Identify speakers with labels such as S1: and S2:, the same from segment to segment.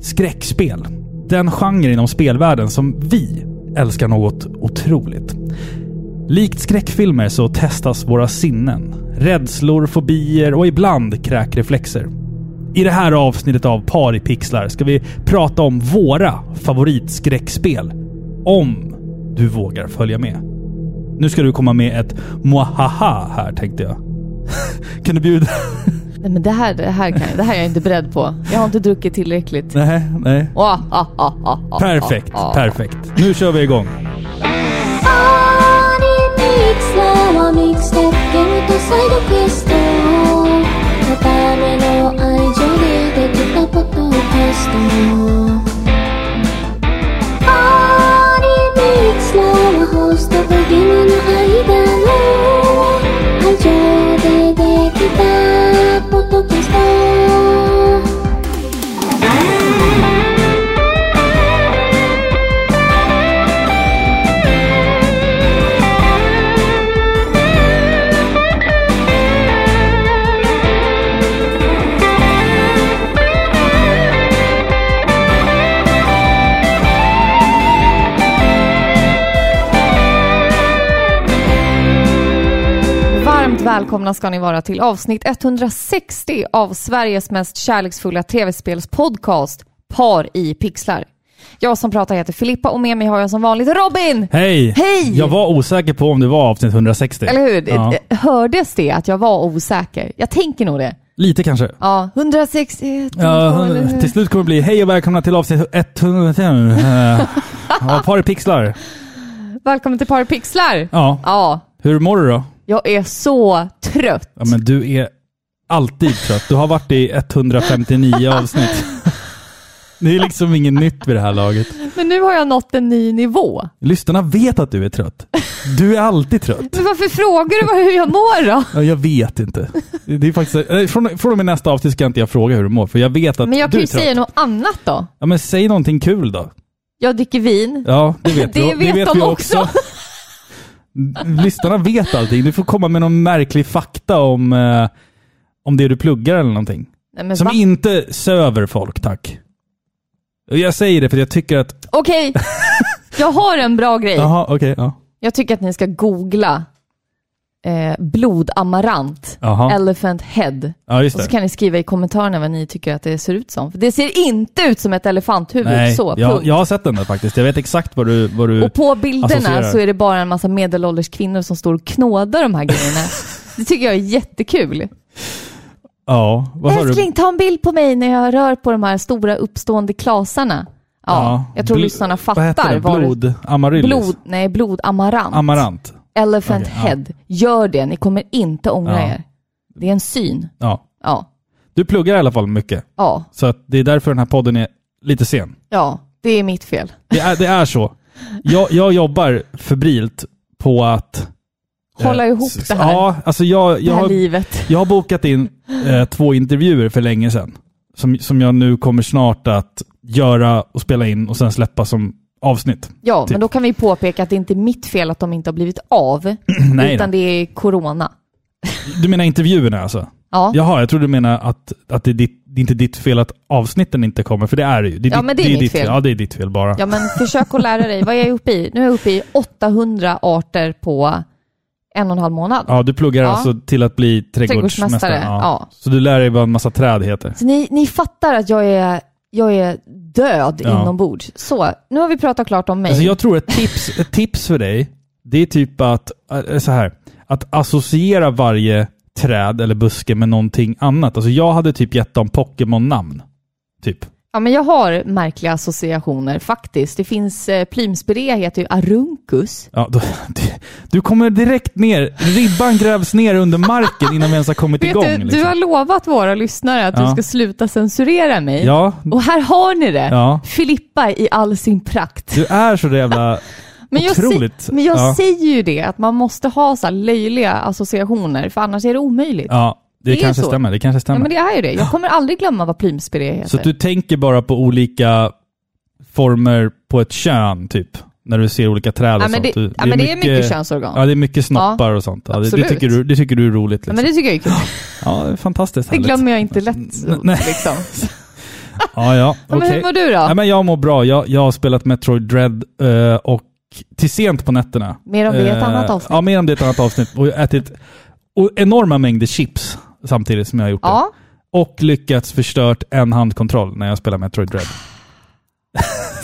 S1: Skräckspel. Den genre inom spelvärlden som vi älskar något otroligt. Likt skräckfilmer så testas våra sinnen. Rädslor, fobier och ibland kräkreflexer. I det här avsnittet av Par i pixlar ska vi prata om våra favoritskräckspel. Om du vågar följa med. Nu ska du komma med ett mwahaha här tänkte jag. kan du bjuda?
S2: Nej men det här, det här, kan jag, det här är jag inte beredd på. Jag har inte druckit tillräckligt.
S1: nej, nej.
S2: Ah, ah, ah, ah, ah,
S1: Perfekt,
S2: ah, ah.
S1: perfekt. Nu kör vi igång.
S3: Podcast.
S2: Varmt välkomna ska ni vara till avsnitt 160 av Sveriges mest kärleksfulla tv-spelspodcast Par i pixlar. Jag som pratar heter Filippa och med mig har jag som vanligt Robin!
S1: Hej!
S2: Hej!
S1: Jag var osäker på om det var avsnitt 160.
S2: Eller hur?
S1: Ja.
S2: Hördes det att jag var osäker? Jag tänker nog det.
S1: Lite kanske.
S2: Ja, 161.
S1: Ja,
S2: eller
S1: hon-
S2: hur?
S1: till slut kommer det bli hej och välkomna till avsnitt 105 eh, av Par i pixlar.
S2: Välkommen till Par i pixlar!
S1: Ja,
S2: Ja,
S1: hur mår du då?
S2: jag är så trött.
S1: Ja, men du är alltid trött. Du har varit i 159 avsnitt. Det är liksom inget nytt vid det här laget.
S2: Men nu har jag nått en ny nivå.
S1: Lyssnarna vet att du är trött. Du är alltid trött.
S2: Men varför frågar du bara hur jag mår då?
S1: Ja, Jag vet inte. Det är faktiskt, eh, från, från och med nästa avsnitt ska inte jag fråga hur du mår, för jag vet att
S2: Men jag
S1: du
S2: kan
S1: är
S2: ju
S1: trött.
S2: säga något annat då.
S1: Ja, men säg någonting kul då.
S2: Jag dricker vin.
S1: Ja, det vet
S2: Det
S1: vi.
S2: vet de
S1: vi
S2: också.
S1: Lyssnarna vet allting. Du får komma med någon märklig fakta om, eh, om det du pluggar eller någonting.
S2: Nej, men
S1: Som
S2: va?
S1: inte söver folk, tack. Och Jag säger det för jag tycker att...
S2: Okej, jag har en bra grej.
S1: Jaha, okej. ja.
S2: Jag tycker att ni ska googla eh, blodamarant,
S1: Jaha.
S2: elephant head.
S1: Ja, just
S2: Och så
S1: det.
S2: kan ni skriva i kommentarerna vad ni tycker att det ser ut som. För det ser inte ut som ett elefanthuvud,
S1: Nej,
S2: så
S1: jag,
S2: punkt.
S1: jag har sett den där faktiskt. Jag vet exakt vad du... Vad du
S2: Och på bilderna
S1: associerar.
S2: så är det bara en massa medelålders kvinnor som står och knådar de här grejerna. Det tycker jag är jättekul.
S1: ja, vad sa du?
S2: Älskling, ta en bild på mig när jag rör på de här stora uppstående klasarna. Ja, jag tror
S1: Bl-
S2: lyssnarna
S1: Vad heter
S2: fattar.
S1: det?
S2: vad det-
S1: Blod... Amaryllis?
S2: Blod, nej, blodamarant.
S1: Amarant.
S2: Elephant
S1: Okej, ja.
S2: head. Gör det, ni kommer inte ångra
S1: Ja.
S2: er. Det är en syn.
S1: Ja.
S2: Ja,
S1: Du pluggar i alla fall mycket.
S2: ja,
S1: Så att det är därför den här podden är lite sen.
S2: ja. Det är mitt fel.
S1: Det är, det är så. Jag, jag jobbar febrilt på att...
S2: Hålla
S1: eh,
S2: ihop
S1: s-
S2: det här,
S1: Ja, alltså jag,
S2: det
S1: jag,
S2: här
S1: har,
S2: livet.
S1: jag har bokat in eh, två intervjuer för länge sedan. Som, som jag nu kommer snart att göra och spela in och sen släppa som avsnitt.
S2: Ja,
S1: typ.
S2: men då kan vi påpeka att det inte är mitt fel att de inte har blivit av,
S1: Nej
S2: utan
S1: då.
S2: det är corona.
S1: Du menar intervjuerna alltså?
S2: Ja,
S1: Jaha, jag tror du menar att, att det, är ditt, det är inte ditt fel att avsnitten inte kommer, för det är det ju. Det
S2: Ja,
S1: ditt-
S2: men det är mitt
S1: ditt
S2: fel.
S1: Ja, det är ditt fel bara.
S2: ja men försök att lära dig. Vad är jag uppe i? Nu är jag uppe i 800 arter på en och en halv månad.
S1: Ja, du pluggar
S2: Ja.
S1: alltså till att bli trädgårdsmästare.
S2: Trädgårdsmästare, ja.
S1: Så du lär dig vad en massa träd heter.
S2: Så ni, ni fattar att jag är, jag är död
S1: Ja.
S2: inombords. Så, nu har vi pratat klart om mig.
S1: Alltså jag tror ett tips, ett tips för dig, det är typ att, äh, så här, att associera varje träd eller buske med någonting annat. Alltså jag hade typ gett dem Pokémon-namn. Typ.
S2: Ja, men jag har märkliga associationer faktiskt. Det finns, eh, plymspirea heter ju Arunkus.
S1: Ja, då, du kommer direkt ner, ribban grävs ner under marken innan vi ens har kommit igång.
S2: Vet du, du
S1: liksom.
S2: har lovat våra lyssnare att
S1: Ja.
S2: du ska sluta censurera mig.
S1: Ja,
S2: Och här har ni det!
S1: Ja.
S2: Filippa i all sin prakt.
S1: du är så jävla...
S2: Men jag,
S1: otroligt.
S2: men jag
S1: Ja.
S2: säger ju det, att man måste ha så här löjliga associationer, för annars är det omöjligt. Ja.
S1: Ja, det,
S2: Det är
S1: kanske
S2: så.
S1: stämmer. Det kanske stämmer.
S2: men det är ju det. Jag kommer aldrig glömma vad plymspirea heter.
S1: Så att du tänker bara på olika former på ett kön, typ? När du ser olika träd och
S2: ja, men
S1: sånt.
S2: det,
S1: Du-
S2: ja, men det är mycket könsorgan.
S1: Ja, det är mycket snoppar och sånt. Ja, det, det,
S2: absolut.
S1: tycker du, det tycker du är roligt.
S2: Ja,
S1: Liksom.
S2: men det tycker jag är kul.
S1: Ja, det är fantastiskt
S2: Det
S1: härligt.
S2: glömmer jag inte lätt.
S1: Nej.
S2: Liksom.
S1: Ja, ja.
S2: Ja, men
S1: okej.
S2: hur mår du
S1: Nej,
S2: då?
S1: men jag mår bra. Jag, jag har spelat Metroid Dread eh, och till sent på nätterna.
S2: Mer om det i ett
S1: Eh,
S2: annat avsnitt.
S1: Ja, mer om det i ett annat avsnitt. Och jag har ätit o- enorma mängder chips samtidigt som jag har gjort det.
S2: Ja,
S1: Och lyckats förstört en handkontroll när jag spelar Metroid Dread.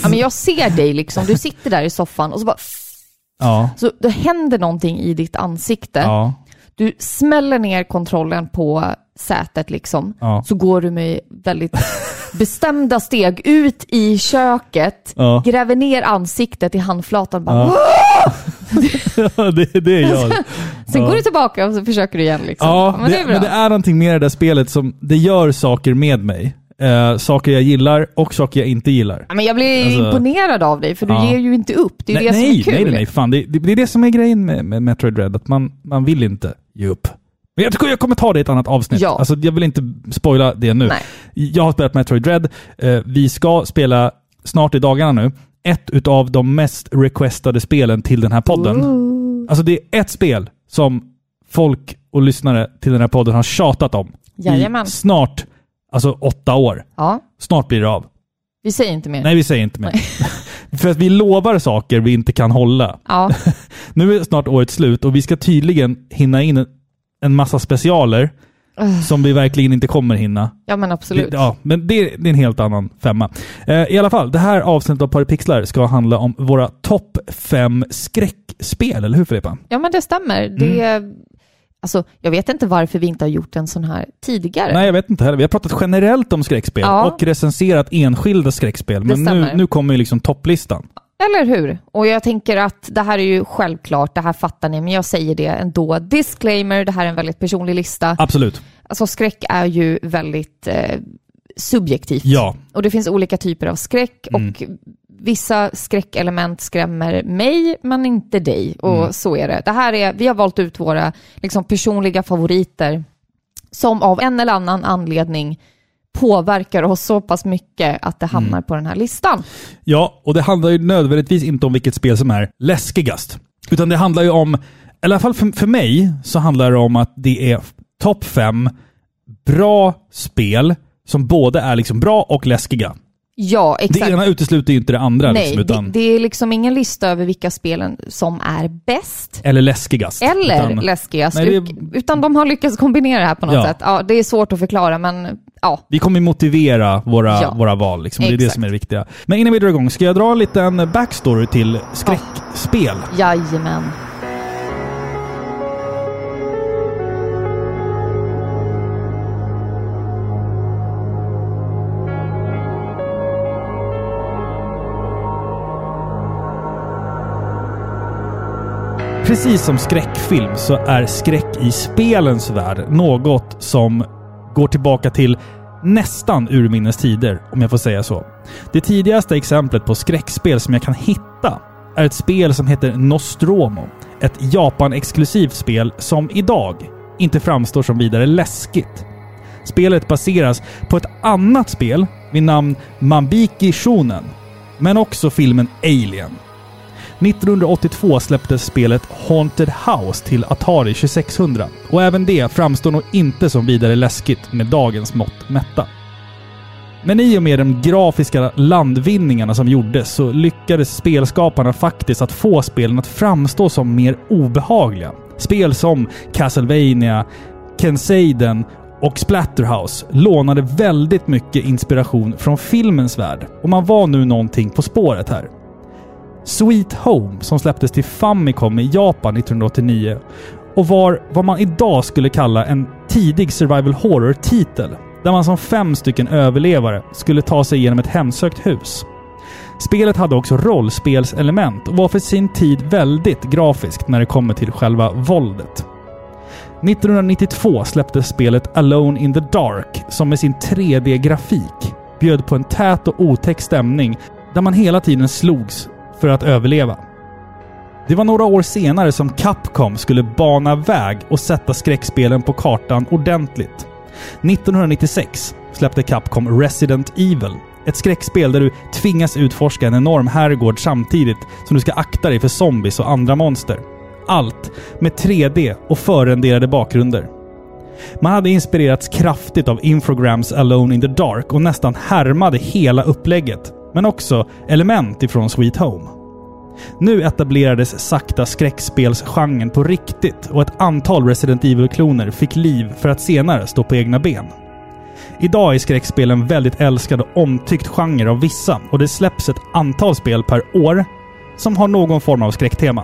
S2: ja, men jag ser dig liksom. Du sitter där i soffan och så bara...
S1: Ja.
S2: Så det händer någonting i ditt ansikte.
S1: Ja.
S2: Du smäller ner kontrollen på sätet liksom.
S1: Ja.
S2: Så går du med väldigt bestämda steg ut i köket,
S1: Ja.
S2: gräver ner ansiktet i handflatan. Bara,
S1: Ja. det, det är jag.
S2: Sen
S1: Ja.
S2: går du tillbaka och så försöker du igen. Liksom.
S1: Ja,
S2: men det, är bra.
S1: men det är någonting med det där spelet som det gör saker med mig. Eh, saker jag gillar och saker jag inte gillar.
S2: Ja, men jag blir
S1: Alltså-
S2: imponerad av dig, för du
S1: Ja.
S2: ger ju inte upp. Det är ju det som
S1: nej,
S2: är kul.
S1: nej, nej, nej, fan. Det, det, det är det som är grejen med, med Metroid Dread, att man, man vill inte ge upp. Men jag, tycker jag kommer ta det i ett annat avsnitt.
S2: Ja.
S1: Alltså, jag vill inte spoila det nu.
S2: Nej.
S1: Jag har spelat Metroid Dread. Eh, vi ska spela snart i dagarna nu, ett utav de mest requestade spelen till den här podden.
S2: Ooh.
S1: Alltså det är ett spel som folk och lyssnare till den här podden har tjatat om
S2: Jajamän.
S1: i snart, alltså åtta år.
S2: Ja,
S1: Snart blir det av.
S2: vi säger inte mer.
S1: Nej, vi säger inte mer. För att vi lovar saker vi inte kan hålla.
S2: Ja,
S1: Nu är snart året slut och vi ska tydligen hinna in en- en massa specialer som vi verkligen inte kommer hinna.
S2: ja, men Öh. absolut.
S1: Det- Ja, men det, det är en helt annan femma. Eh, I alla fall, det här avsnittet av Paripixlar ska handla om våra topp fem skräckspel, eller hur Filippa?
S2: Ja, men det stämmer. Det,
S1: Mm.
S2: alltså, jag vet inte varför vi inte har gjort en sån här tidigare.
S1: Nej, jag vet inte heller. Vi har pratat generellt om skräckspel
S2: Ja.
S1: och recenserat enskilda skräckspel. Men nu,
S2: stämmer.
S1: nu kommer ju liksom topplistan.
S2: Eller hur? Och jag tänker att det här är ju självklart, det här fattar ni, men jag säger det ändå. Disclaimer, det här är en väldigt personlig lista.
S1: Absolut.
S2: Alltså skräck är ju väldigt eh, subjektivt.
S1: Ja. Mm.
S2: Och det finns olika typer av skräck och vissa skräckelement skrämmer mig men inte dig. Och
S1: Mm.
S2: så är det. det här är, vi har valt ut våra liksom, personliga favoriter som av en eller annan anledning påverkar oss så pass mycket att det
S1: Mm.
S2: hamnar på den här listan.
S1: Ja, och det handlar ju nödvändigtvis inte om vilket spel som är läskigast. Utan det handlar ju om, eller i alla fall för, för mig, så handlar det om att det är topp fem bra spel som både är liksom bra och läskiga.
S2: Ja,
S1: Det
S2: exakt.
S1: ena utesluter ju inte det andra.
S2: Nej,
S1: liksom, utan,
S2: det, det är liksom ingen lista över vilka spelen som är bäst
S1: Eller läskigast.
S2: eller
S1: utan,
S2: läskigast,
S1: Nej, det-
S2: ut- utan de har lyckats kombinera det här på något
S1: Ja.
S2: sätt. Ja, det är svårt att förklara, men ja.
S1: Vi kommer ju motivera våra,
S2: Ja.
S1: våra val. Liksom. Det är det
S2: Exakt.
S1: som är det viktiga. Men innan vi drar igång, ska jag dra en liten backstory till skräckspel?
S2: Jajamän.
S1: Precis som skräckfilm så är skräck i spelens värld något som går tillbaka till nästan urminnes tider, om jag får säga så. Det tidigaste exemplet på skräckspel som jag kan hitta är ett spel som heter Nostromo. Ett Japan-exklusivt spel som idag inte framstår som vidare läskigt. Spelet baseras på ett annat spel vid namn Mambiki Shonen, men också filmen Alien. 1982 släpptes spelet Haunted House till Atari 2600 och även det framstår nog inte som vidare läskigt med dagens mått mätta. Men i och med de grafiska landvinningarna som gjordes så lyckades spelskaparna faktiskt att få spelen att framstå som mer obehagliga. Spel som Castlevania, Kenseiden och Splatterhouse lånade väldigt mycket inspiration från filmens värld och man var nu någonting på spåret här. Sweet Home som släpptes till Famicom i Japan 1989 och var vad man idag skulle kalla en tidig survival horror-titel där man som fem stycken överlevare skulle ta sig igenom ett hemsökt hus. Spelet hade också rollspelselement och var för sin tid väldigt grafiskt när det kommer till själva våldet. 1992 släpptes spelet Alone in the Dark som med sin 3D-grafik bjöd på en tät och otäck stämning där man hela tiden slogs för att överleva. Det var några år senare som Capcom skulle bana väg och sätta skräckspelen på kartan ordentligt. 1996 släppte Capcom Resident Evil. Ett skräckspel där du tvingas utforska en enorm herrgård samtidigt som du ska akta dig för zombies och andra monster. Allt med 3D och förrenderade bakgrunder. Man hade inspirerats kraftigt av Infograms Alone in the Dark och nästan härmade hela upplägget, men också element ifrån Sweet Home. Nu etablerades sakta skräckspelsgenren på riktigt och ett antal Resident Evil-kloner fick liv för att senare stå på egna ben. Idag är skräckspel en väldigt älskad och omtyckt genre av vissa och det släpps ett antal spel per år som har någon form av skräcktema.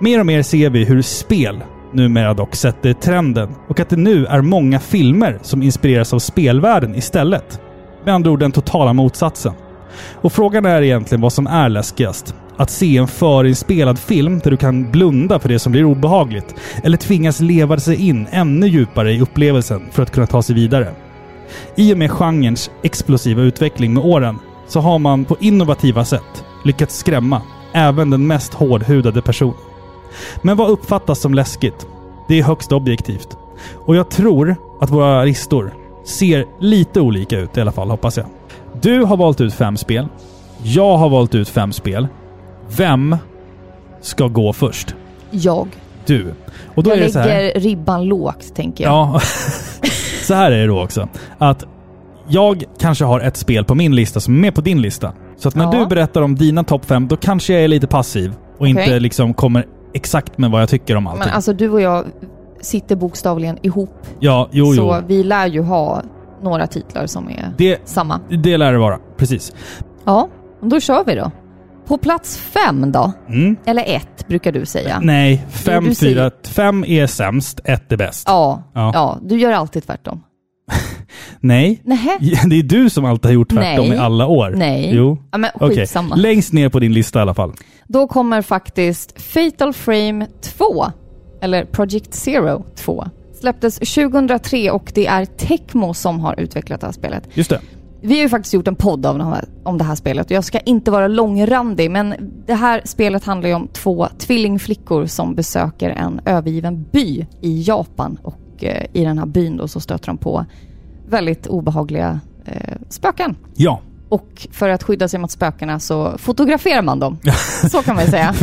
S1: Mer och mer ser vi hur spel numera dock sätter trenden och att det nu är många filmer som inspireras av spelvärlden istället. Med andra ord den totala motsatsen. Och frågan är egentligen vad som är läskigast. Att se en förinspelad film där du kan blunda för det som blir obehagligt eller tvingas leva sig in ännu djupare i upplevelsen för att kunna ta sig vidare. I och med genrens explosiva utveckling med åren så har man på innovativa sätt lyckats skrämma även den mest hårdhudade person. Men vad uppfattas som läskigt? Det är högst objektivt. Och jag tror att våra listor ser lite olika ut i alla fall, hoppas jag. Du har valt ut fem spel. Jag har valt ut fem spel. Vem ska gå först?
S2: Jag.
S1: Du. Och då
S2: jag
S1: är det så här...
S2: lägger ribban lågt, tänker jag.
S1: Ja. så här är det då också. Att jag kanske har ett spel på min lista som är med på din lista. Så att när
S2: Ja.
S1: du berättar om dina topp fem, då kanske jag är lite passiv och inte
S2: Okej.
S1: liksom kommer exakt med vad jag tycker om allting.
S2: Men alltså du och jag sitter bokstavligen ihop.
S1: ja, jo, jo.
S2: Så vi lär ju ha några titlar som är
S1: Det,
S2: samma.
S1: det lär det vara. Precis.
S2: Ja, men då kör vi då. På plats fem då?
S1: Mm.
S2: Eller ett, brukar du säga.
S1: Nej, fem,
S2: du säger-
S1: fyra, fem är sämst, ett är bäst.
S2: Ja,
S1: Ja.
S2: ja. du gör alltid tvärtom.
S1: Nej,
S2: Nähä?
S1: det är du som alltid har gjort tvärtom
S2: Nej.
S1: i alla år.
S2: Nej.
S1: Jo.
S2: Ja, men
S1: Okej,
S2: skitsamma.
S1: längst ner på din lista i alla fall.
S2: Då kommer faktiskt Fatal Frame 2, eller Project Zero 2. Släpptes 2003 och det är Tecmo som har utvecklat det här spelet.
S1: Just det.
S2: Vi har ju faktiskt gjort en podd av de här, om det här spelet och jag ska inte vara långrandig men det här spelet handlar ju om två tvillingflickor som besöker en övergiven by i Japan och eh, i den här byn då så stöter de på väldigt obehagliga eh, spöken.
S1: Ja.
S2: Och för att skydda sig mot spökena så fotograferar man dem. Så kan man ju säga.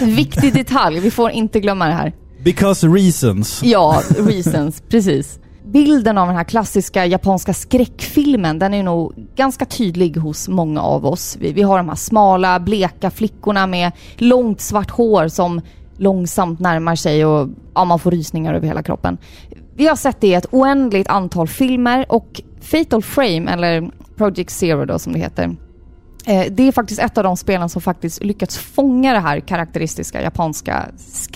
S2: Viktig detalj, vi får inte glömma det här.
S1: Because reasons.
S2: Ja, reasons, precis. Bilden av den här klassiska japanska skräckfilmen, den är nog ganska tydlig hos många av oss. Vi, vi har de här smala, bleka flickorna med långt svart hår som långsamt närmar sig och ja, man får rysningar över hela kroppen. Vi har sett det i ett oändligt antal filmer och Fatal Frame, eller Project Zero då som det heter, Eh, Det är faktiskt ett av de spelen som faktiskt lyckats fånga det här karaktäristiska japanska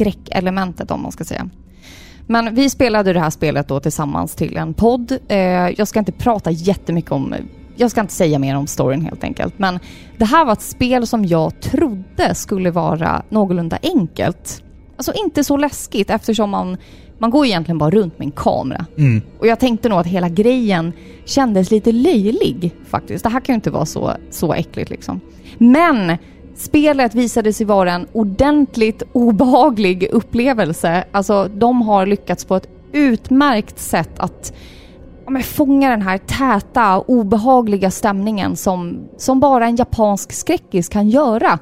S2: skräckelementet om man ska säga. Men vi spelade det här spelet då tillsammans till en podd. Eh, Jag ska inte prata jättemycket om, jag ska inte säga mer om storyn helt enkelt. Men det här var ett spel som jag trodde skulle vara någorlunda enkelt. Alltså inte så läskigt eftersom man, man går ju egentligen bara runt med en kamera. Och jag tänkte nog att hela grejen kändes lite löjlig faktiskt. Det här kan ju inte vara så, så äckligt liksom. Men spelet visade sig vara en ordentligt obehaglig upplevelse. Alltså de har lyckats på ett utmärkt sätt att ja, men fånga den här täta, obehagliga stämningen som, som bara en japansk skräckis kan göra.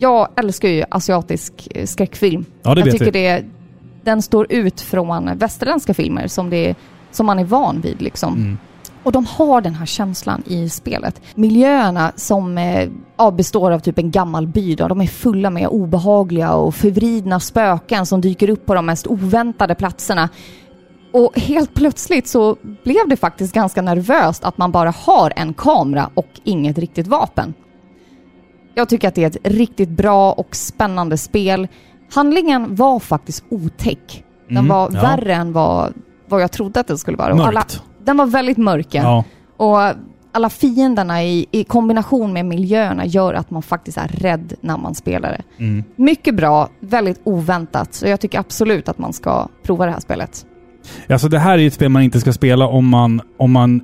S2: Jag älskar ju asiatisk eh, skräckfilm.
S1: Ja, det
S2: jag
S1: vet
S2: tycker
S1: vi.
S2: det, den står ut från västerländska filmer som, det, som man är van vid. Liksom.
S1: Mm.
S2: Och de har den här känslan i spelet. Miljöerna som eh, ja, består av typ en gammal by, då, de är fulla med obehagliga och förvridna spöken som dyker upp på de mest oväntade platserna. Och helt plötsligt så blev det faktiskt ganska nervöst att man bara har en kamera och inget riktigt vapen. Jag tycker att det är ett riktigt bra och spännande spel. Handlingen var faktiskt otäck. Den
S1: Mm,
S2: var
S1: ja.
S2: värre än vad, vad jag trodde att den skulle vara. Och
S1: Mörkt.
S2: den var väldigt mörk. ja.
S1: Ja.
S2: Och alla fienderna i, i kombination med miljöerna gör att man faktiskt är rädd när man spelar det.
S1: Mm.
S2: Mycket bra, väldigt oväntat. Så jag tycker absolut att man ska prova det här spelet.
S1: Alltså det här är ju ett spel man inte ska spela om man, om man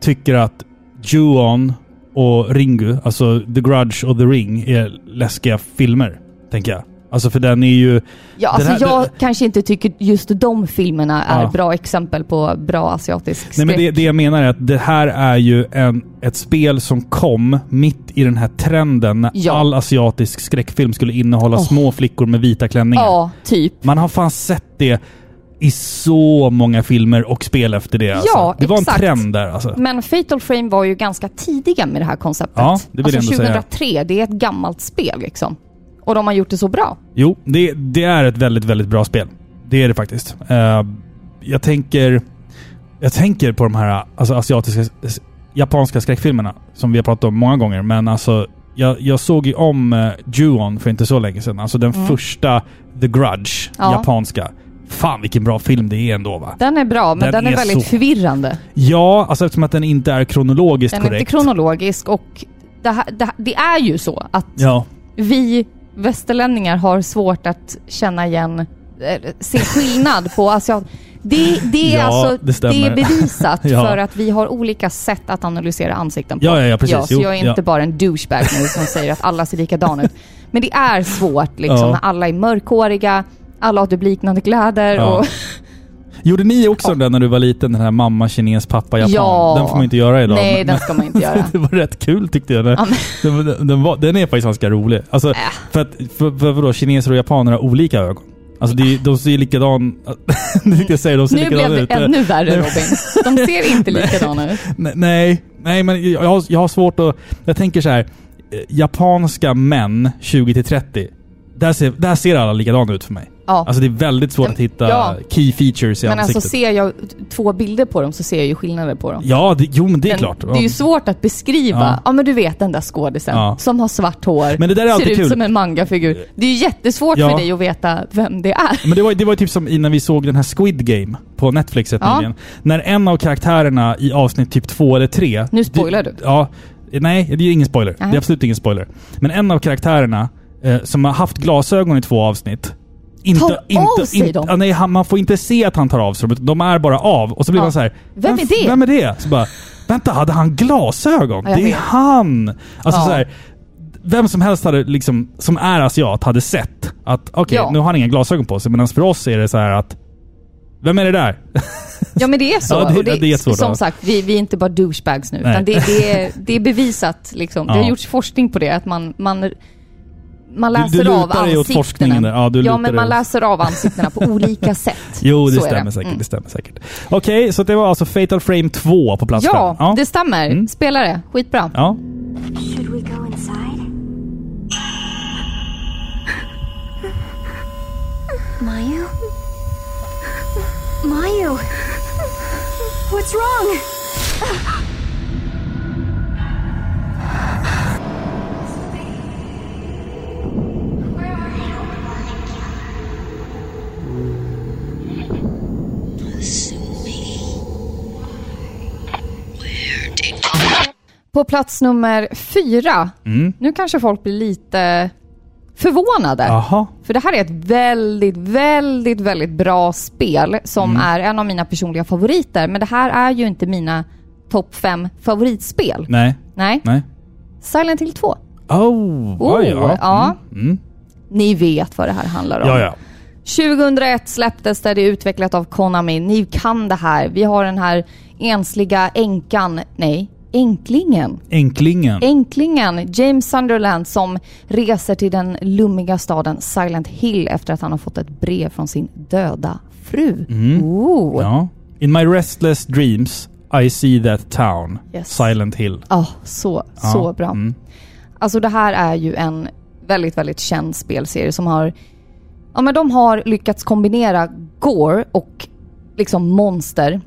S1: tycker att Juon och Ringu, alltså The Grudge och The Ring, är läskiga filmer. Tänker jag. Alltså för den är ju...
S2: Ja, alltså
S1: här-
S2: jag
S1: det-
S2: kanske inte tycker just de filmerna är
S1: Ja.
S2: bra exempel på bra asiatisk
S1: Nej
S2: skräck.
S1: men det, det jag menar är att det här är ju en, ett spel som kom mitt i den här trenden när
S2: Ja.
S1: all asiatisk skräckfilm skulle innehålla små flickor med vita klänningar.
S2: Ja, typ.
S1: Man har fan sett det i så många filmer och spel efter det. alltså. Det var
S2: exakt.
S1: en trend där alltså.
S2: Men Fatal Frame var ju ganska tidiga med det här konceptet.
S1: Ja, det vill jag
S2: alltså
S1: ändå säga.
S2: 2003, det är ett gammalt spel liksom. Och de har gjort det så bra.
S1: Jo, det, det är ett väldigt, väldigt bra spel. Det är det faktiskt. Eh, jag tänker... Jag tänker på de här alltså, asiatiska... s- Japanska skräckfilmerna som vi har pratat om många gånger, men alltså... Jag, jag såg ju om uh, Ju-On för inte så länge sedan. Alltså den första The Grudge,
S2: Mm. Ja.
S1: japanska. Fan vilken bra film det är ändå va?
S2: Den är bra, men den,
S1: Den
S2: är,
S1: är
S2: väldigt
S1: så-
S2: förvirrande.
S1: Ja, alltså eftersom att den inte är kronologiskt
S2: Den är
S1: korrekt.
S2: inte kronologisk och det, här, det, här- det är ju så att
S1: ja.
S2: vi västerlänningar har svårt att känna igen, eh, se skillnad på asiat. Det, det är
S1: Ja,
S2: alltså
S1: det stämmer.
S2: det är bevisat
S1: Ja.
S2: för att vi har olika sätt att analysera ansikten på.
S1: Ja, ja, ja, precis.
S2: så
S1: Jo,
S2: jag är
S1: ja.
S2: inte bara en douchebag nu som säger att alla ser likadana ut. Men det är svårt liksom
S1: Ja.
S2: när alla är mörkhåriga, alla har typ liknande kläder
S1: Ja.
S2: och
S1: Gjorde ni också den när du var liten? Den här mamma, kines, pappa, japan?
S2: Ja.
S1: Den får man inte göra idag.
S2: nej,
S1: men-
S2: den ska man inte göra.
S1: det var rätt kul tyckte jag.
S2: Ja, Äh.
S1: Den, den, den, var, den är faktiskt ganska rolig. Alltså, För att för, för, vadå, kineser och japaner har olika ögon. Alltså det, är- de ser likadan... Nu tänkte jag säga, de ser
S2: Nu blev
S1: likadana
S2: det
S1: ut.
S2: ännu värre Robin. De ser inte likadana ut.
S1: Nej, Nej, nej men jag har, jag har svårt att... Jag tänker så här. eh, Japanska män 20-30. Där ser, där ser alla likadana ut för mig.
S2: Ja.
S1: Alltså det är väldigt svårt att hitta
S2: Ja.
S1: key features i
S2: Men
S1: ansiktet.
S2: alltså ser jag två bilder på dem så ser jag ju skillnader på dem.
S1: Ja, det, jo men det är
S2: Den-
S1: klart.
S2: Det är ju svårt att beskriva. Ja,
S1: Ja.
S2: men du vet den där skådisen
S1: Ja.
S2: som har svart hår,
S1: Men det där är
S2: ser
S1: alltid
S2: ut
S1: kul.
S2: som en mangafigur. Det är ju jättesvårt
S1: Ja.
S2: för dig att veta vem det är.
S1: Men det var, det var ju typ som innan vi såg den här Squid Game på Netflix rätt
S2: Ja.
S1: nyligen. När en av karaktärerna i avsnitt typ två eller tre...
S2: Nu spoilar du.
S1: Ja. Nej, det är ju ingen spoiler. Det
S2: Nej.
S1: är absolut ingen spoiler. Men en av karaktärerna eh, som har haft glasögon i två avsnitt. Inte,
S2: Tar av sig
S1: inte,
S2: dem?
S1: ja, nej, han, man får inte se att han tar av sig dem. utan De är bara av. Och så blir
S2: Ja.
S1: man så här.
S2: Vem
S1: "Men
S2: är det?"
S1: f- Vem är det? Så bara, vänta, hade han glasögon?
S2: Ja, jag
S1: det är
S2: vet.
S1: han! Alltså
S2: Ja.
S1: så här, vem som helst hade liksom, som är asiat hade sett att okej,
S2: Ja.
S1: nu har han inga glasögon på sig. Medan för oss är det så här att vem är det där?
S2: Ja men det är så.
S1: Ja, det-
S2: Och
S1: ja, det är jättesvårt,
S2: som
S1: ja.
S2: sagt, vi, vi är inte bara douchebags nu.
S1: Nej.
S2: Utan det, det, är, det är bevisat liksom. Det
S1: Ja.
S2: har gjorts forskning på det. Att man, man, man
S1: Du- du
S2: läser av
S1: lutar dig åt forskningen
S2: ansiktena.
S1: där. Ja, du lutar
S2: men
S1: dig
S2: man
S1: åt-
S2: läser av ansiktena på olika sätt.
S1: Jo, det
S2: Så är
S1: stämmer säkert.
S2: Mm.
S1: Det stämmer säkert. Okej, så det var alltså Fatal Frame 2 på plats
S2: Ja,
S1: fem.
S2: det stämmer.
S1: Mm.
S2: Spela det. Skitbra.
S1: ja.
S3: Should we go inside? Mayu? Mayu! What's wrong?
S2: På plats nummer fyra.
S1: Mm.
S2: Nu kanske folk blir lite förvånade.
S1: Jaha.
S2: För det här är ett väldigt, väldigt, väldigt bra spel som
S1: Mm.
S2: är en av mina personliga favoriter. Men det här är ju inte mina topp fem favoritspel. Nej.
S1: Nej. Nej.
S2: Silent Hill 2.
S1: Oh,
S2: Oh,
S1: oj, ja.
S2: ja.
S1: Mm. Mm.
S2: Ni vet vad det här handlar om.
S1: Ja, ja.
S2: 2001 släpptes det, det är utvecklat av Konami. Ni kan det här. Vi har den här ensliga änkan, nej, änklingen.
S1: Enklingen.
S2: Änklingen James Sunderland som reser till den lummiga staden Silent Hill efter att han har fått ett brev från sin döda fru. Ooh. Ja.
S1: ja. In my restless dreams I see that town.
S2: Yes.
S1: Silent Hill.
S2: så, så bra. Alltså det här är ju en väldigt, väldigt känd spelserie som har... Ja men de har lyckats kombinera gore och liksom monster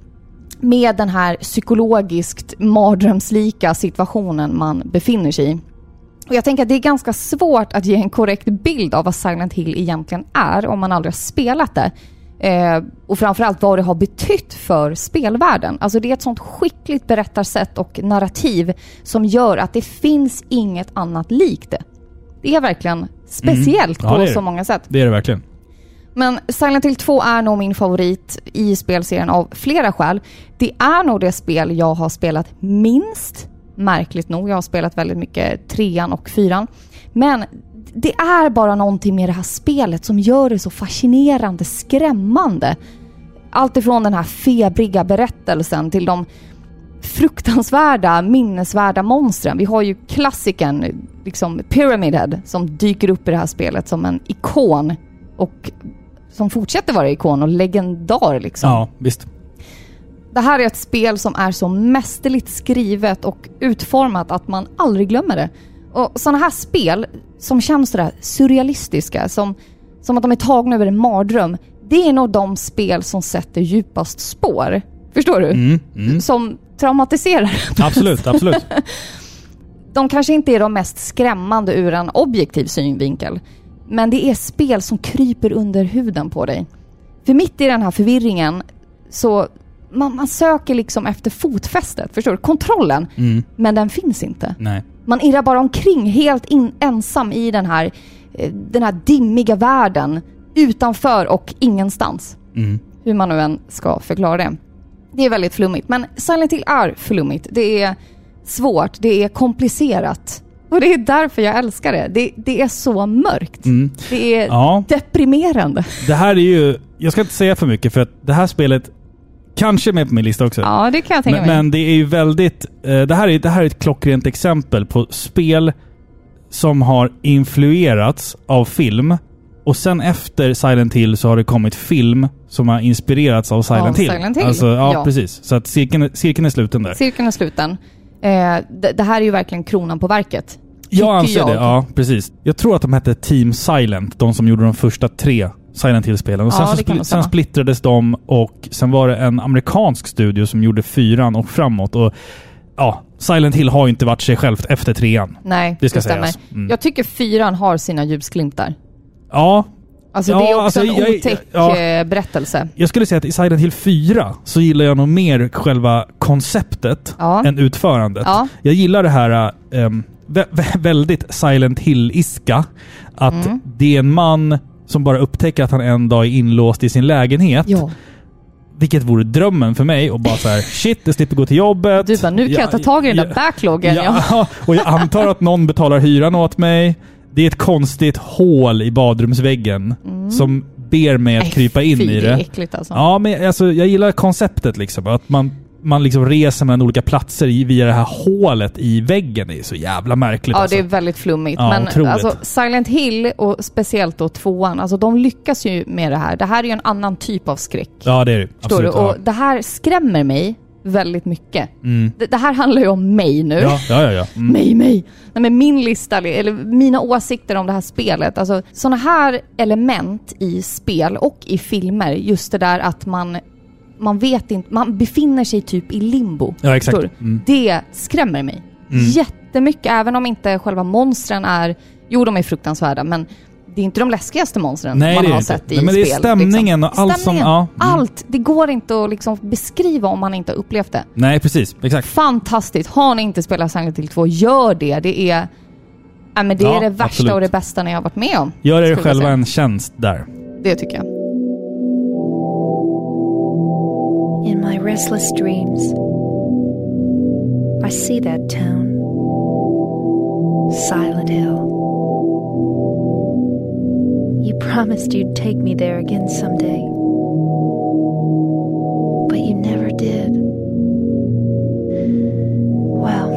S2: med den här psykologiskt mardrömslika situationen man befinner sig i. Och jag tänker att det är ganska svårt att ge en korrekt bild av vad Silent Hill egentligen är om man aldrig har spelat det. Eh, och framförallt vad det har betytt för spelvärlden. Alltså det är ett sånt skickligt berättarsätt och narrativ som gör att det finns inget annat likt det. Det är verkligen speciellt
S1: Mm. Ja, det
S2: på
S1: är det.
S2: så många sätt.
S1: Det är det verkligen.
S2: Men Silent Hill 2 är nog min favorit i spelserien av flera skäl. Det är nog det spel jag har spelat minst, märkligt nog. Jag har spelat väldigt mycket trean och fyran. Men det är bara någonting med det här spelet som gör det så fascinerande, skrämmande. Allt ifrån den här febriga berättelsen till de fruktansvärda, minnesvärda monstren. Vi har ju klassikern liksom Pyramid Head som dyker upp i det här spelet som en ikon och som fortsätter vara ikon och legendar liksom.
S1: Ja, visst.
S2: Det här är ett spel som är så mästerligt skrivet och utformat att man aldrig glömmer det. Och sådana här spel som känns sådär surrealistiska, som, som att de är tagna över en mardröm, det är nog de spel som sätter djupast spår. Förstår du?
S1: Mm, mm.
S2: Som traumatiserar.
S1: Absolut, absolut.
S2: De kanske inte är de mest skrämmande ur en objektiv synvinkel. Men det är spel som kryper under huden på dig. För mitt i den här förvirringen så man, man söker liksom efter fotfästet, förstår du? Kontrollen.
S1: Mm.
S2: Men den finns inte.
S1: Nej.
S2: Man irrar bara omkring helt in, ensam i den här, eh, den här dimmiga världen. Utanför och ingenstans.
S1: Mm.
S2: Hur man nu än ska förklara det. Det är väldigt flummigt. Men Silent Hill är flummigt. Det är svårt, det är komplicerat. Och det är därför jag älskar det. Det, det är så mörkt.
S1: Mm.
S2: Det är
S1: Ja.
S2: deprimerande.
S1: Det här är ju... Jag ska inte säga för mycket för att det här spelet kanske är med på min lista också.
S2: Ja, det kan jag tänka
S1: Men,
S2: mig.
S1: men det är ju väldigt... eh, Det här är, det här är ett klockrent exempel på spel som har influerats av film. Och sen efter Silent Hill så har det kommit film som har inspirerats av Silent Hill.
S2: Silent Hill,
S1: Alltså, ja,
S2: ja.
S1: precis. Så att cirkeln, cirkeln är sluten där.
S2: Cirkeln är sluten. Eh, det, det här är ju verkligen kronan på verket.
S1: Jag
S2: Tycker
S1: anser det, ja precis. Jag tror att de hette Team Silent, de som gjorde de första tre Silent Hill-spelen. Och sen,
S2: Ja,
S1: så
S2: det kan
S1: sen
S2: nog stämma.
S1: splittrades de och sen var det en amerikansk studio som gjorde fyran och framåt. Och ja, Silent Hill har ju inte varit sig självt efter trean.
S2: Nej,
S1: Det ska
S2: stämmer.
S1: sägas. Mm.
S2: Jag tycker fyran har sina ljusglimtar.
S1: Ja,
S2: Alltså
S1: Ja,
S2: det är också
S1: alltså,
S2: en
S1: jag-
S2: otäck
S1: ja.
S2: eh, berättelse.
S1: jag skulle säga att i Silent Hill 4 så gillar jag nog mer själva konceptet
S2: Ja.
S1: än utförandet.
S2: Ja.
S1: Jag gillar det här ehm, vä- vä- väldigt Silent Hill-iska. Att
S2: Mm.
S1: det är en man som bara upptäcker att han en dag är inlåst i sin lägenhet.
S2: Ja.
S1: Vilket vore drömmen för mig och bara så här: shit, jag slipper gå till jobbet.
S2: Du bara, nu kan
S1: Ja,
S2: jag ta tag i den där
S1: ja,
S2: backloggen. Ja.
S1: Ja, och jag antar att någon betalar hyran åt mig. Det är ett konstigt hål i badrumsväggen som ber mig att
S2: Mm. Nej,
S1: krypa in
S2: fy,
S1: i
S2: Det är
S1: det.
S2: äckligt alltså.
S1: Ja, men alltså, jag gillar konceptet liksom. Att man, man liksom reser mellan olika platser i- via det här hålet i väggen. Det är så jävla märkligt
S2: Ja,
S1: alltså.
S2: det är väldigt flummigt.
S1: Ja,
S2: men
S1: otroligt.
S2: alltså, Silent Hill och speciellt då tvåan, alltså de lyckas ju med det här. Det här är ju en annan typ av skräck.
S1: Ja, det är det.
S2: förstår du?
S1: Absolut.
S2: Och det här skrämmer mig väldigt mycket. Det, det här handlar ju om mig nu.
S1: ja. ja, ja, ja. Mm.
S2: Mig, mig. Nej, men min lista, eller mina åsikter om det här spelet. Alltså sådana här element i spel och i filmer. Just det där att man, man vet inte, man befinner sig typ i limbo.
S1: Ja, exakt.
S2: Förstår du?
S1: Mm.
S2: Det skrämmer mig jättemycket. Även om inte själva monstren är, jo de är fruktansvärda men det är inte de läskigaste monstren
S1: Nej,
S2: man
S1: det är
S2: har
S1: det inte.
S2: sett i
S1: Nej, men det är
S2: spel. liksom.
S1: stämningen och allt som-
S2: Stämningen,
S1: ja. Mm.
S2: Allt! Det går inte att liksom beskriva om man inte har upplevt det.
S1: Nej, precis. Exakt.
S2: Fantastiskt! Har ni inte spelat Silent Hill 2, gör det. Det är, ja, men det,
S1: Ja,
S2: är det värsta
S1: absolut.
S2: och det bästa ni har varit med om.
S1: Gör er
S2: skulle jag
S1: själva
S2: säga.
S1: en tjänst där.
S2: Det tycker jag.
S4: In my restless dreams, I see that town. Silent Hill. You promised you'd take me there again someday. But you never did. Well,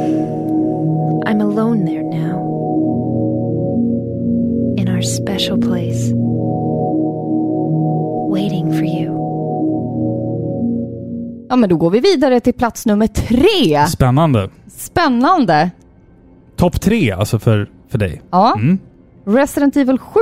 S4: I'm alone there now. In our special place. Waiting for you.
S2: Ja, men då går vi vidare till plats nummer tre.
S1: Spännande.
S2: Spännande!
S1: Topp tre alltså för, för dig.
S2: Ja.
S1: Mm.
S2: Resident Evil 7.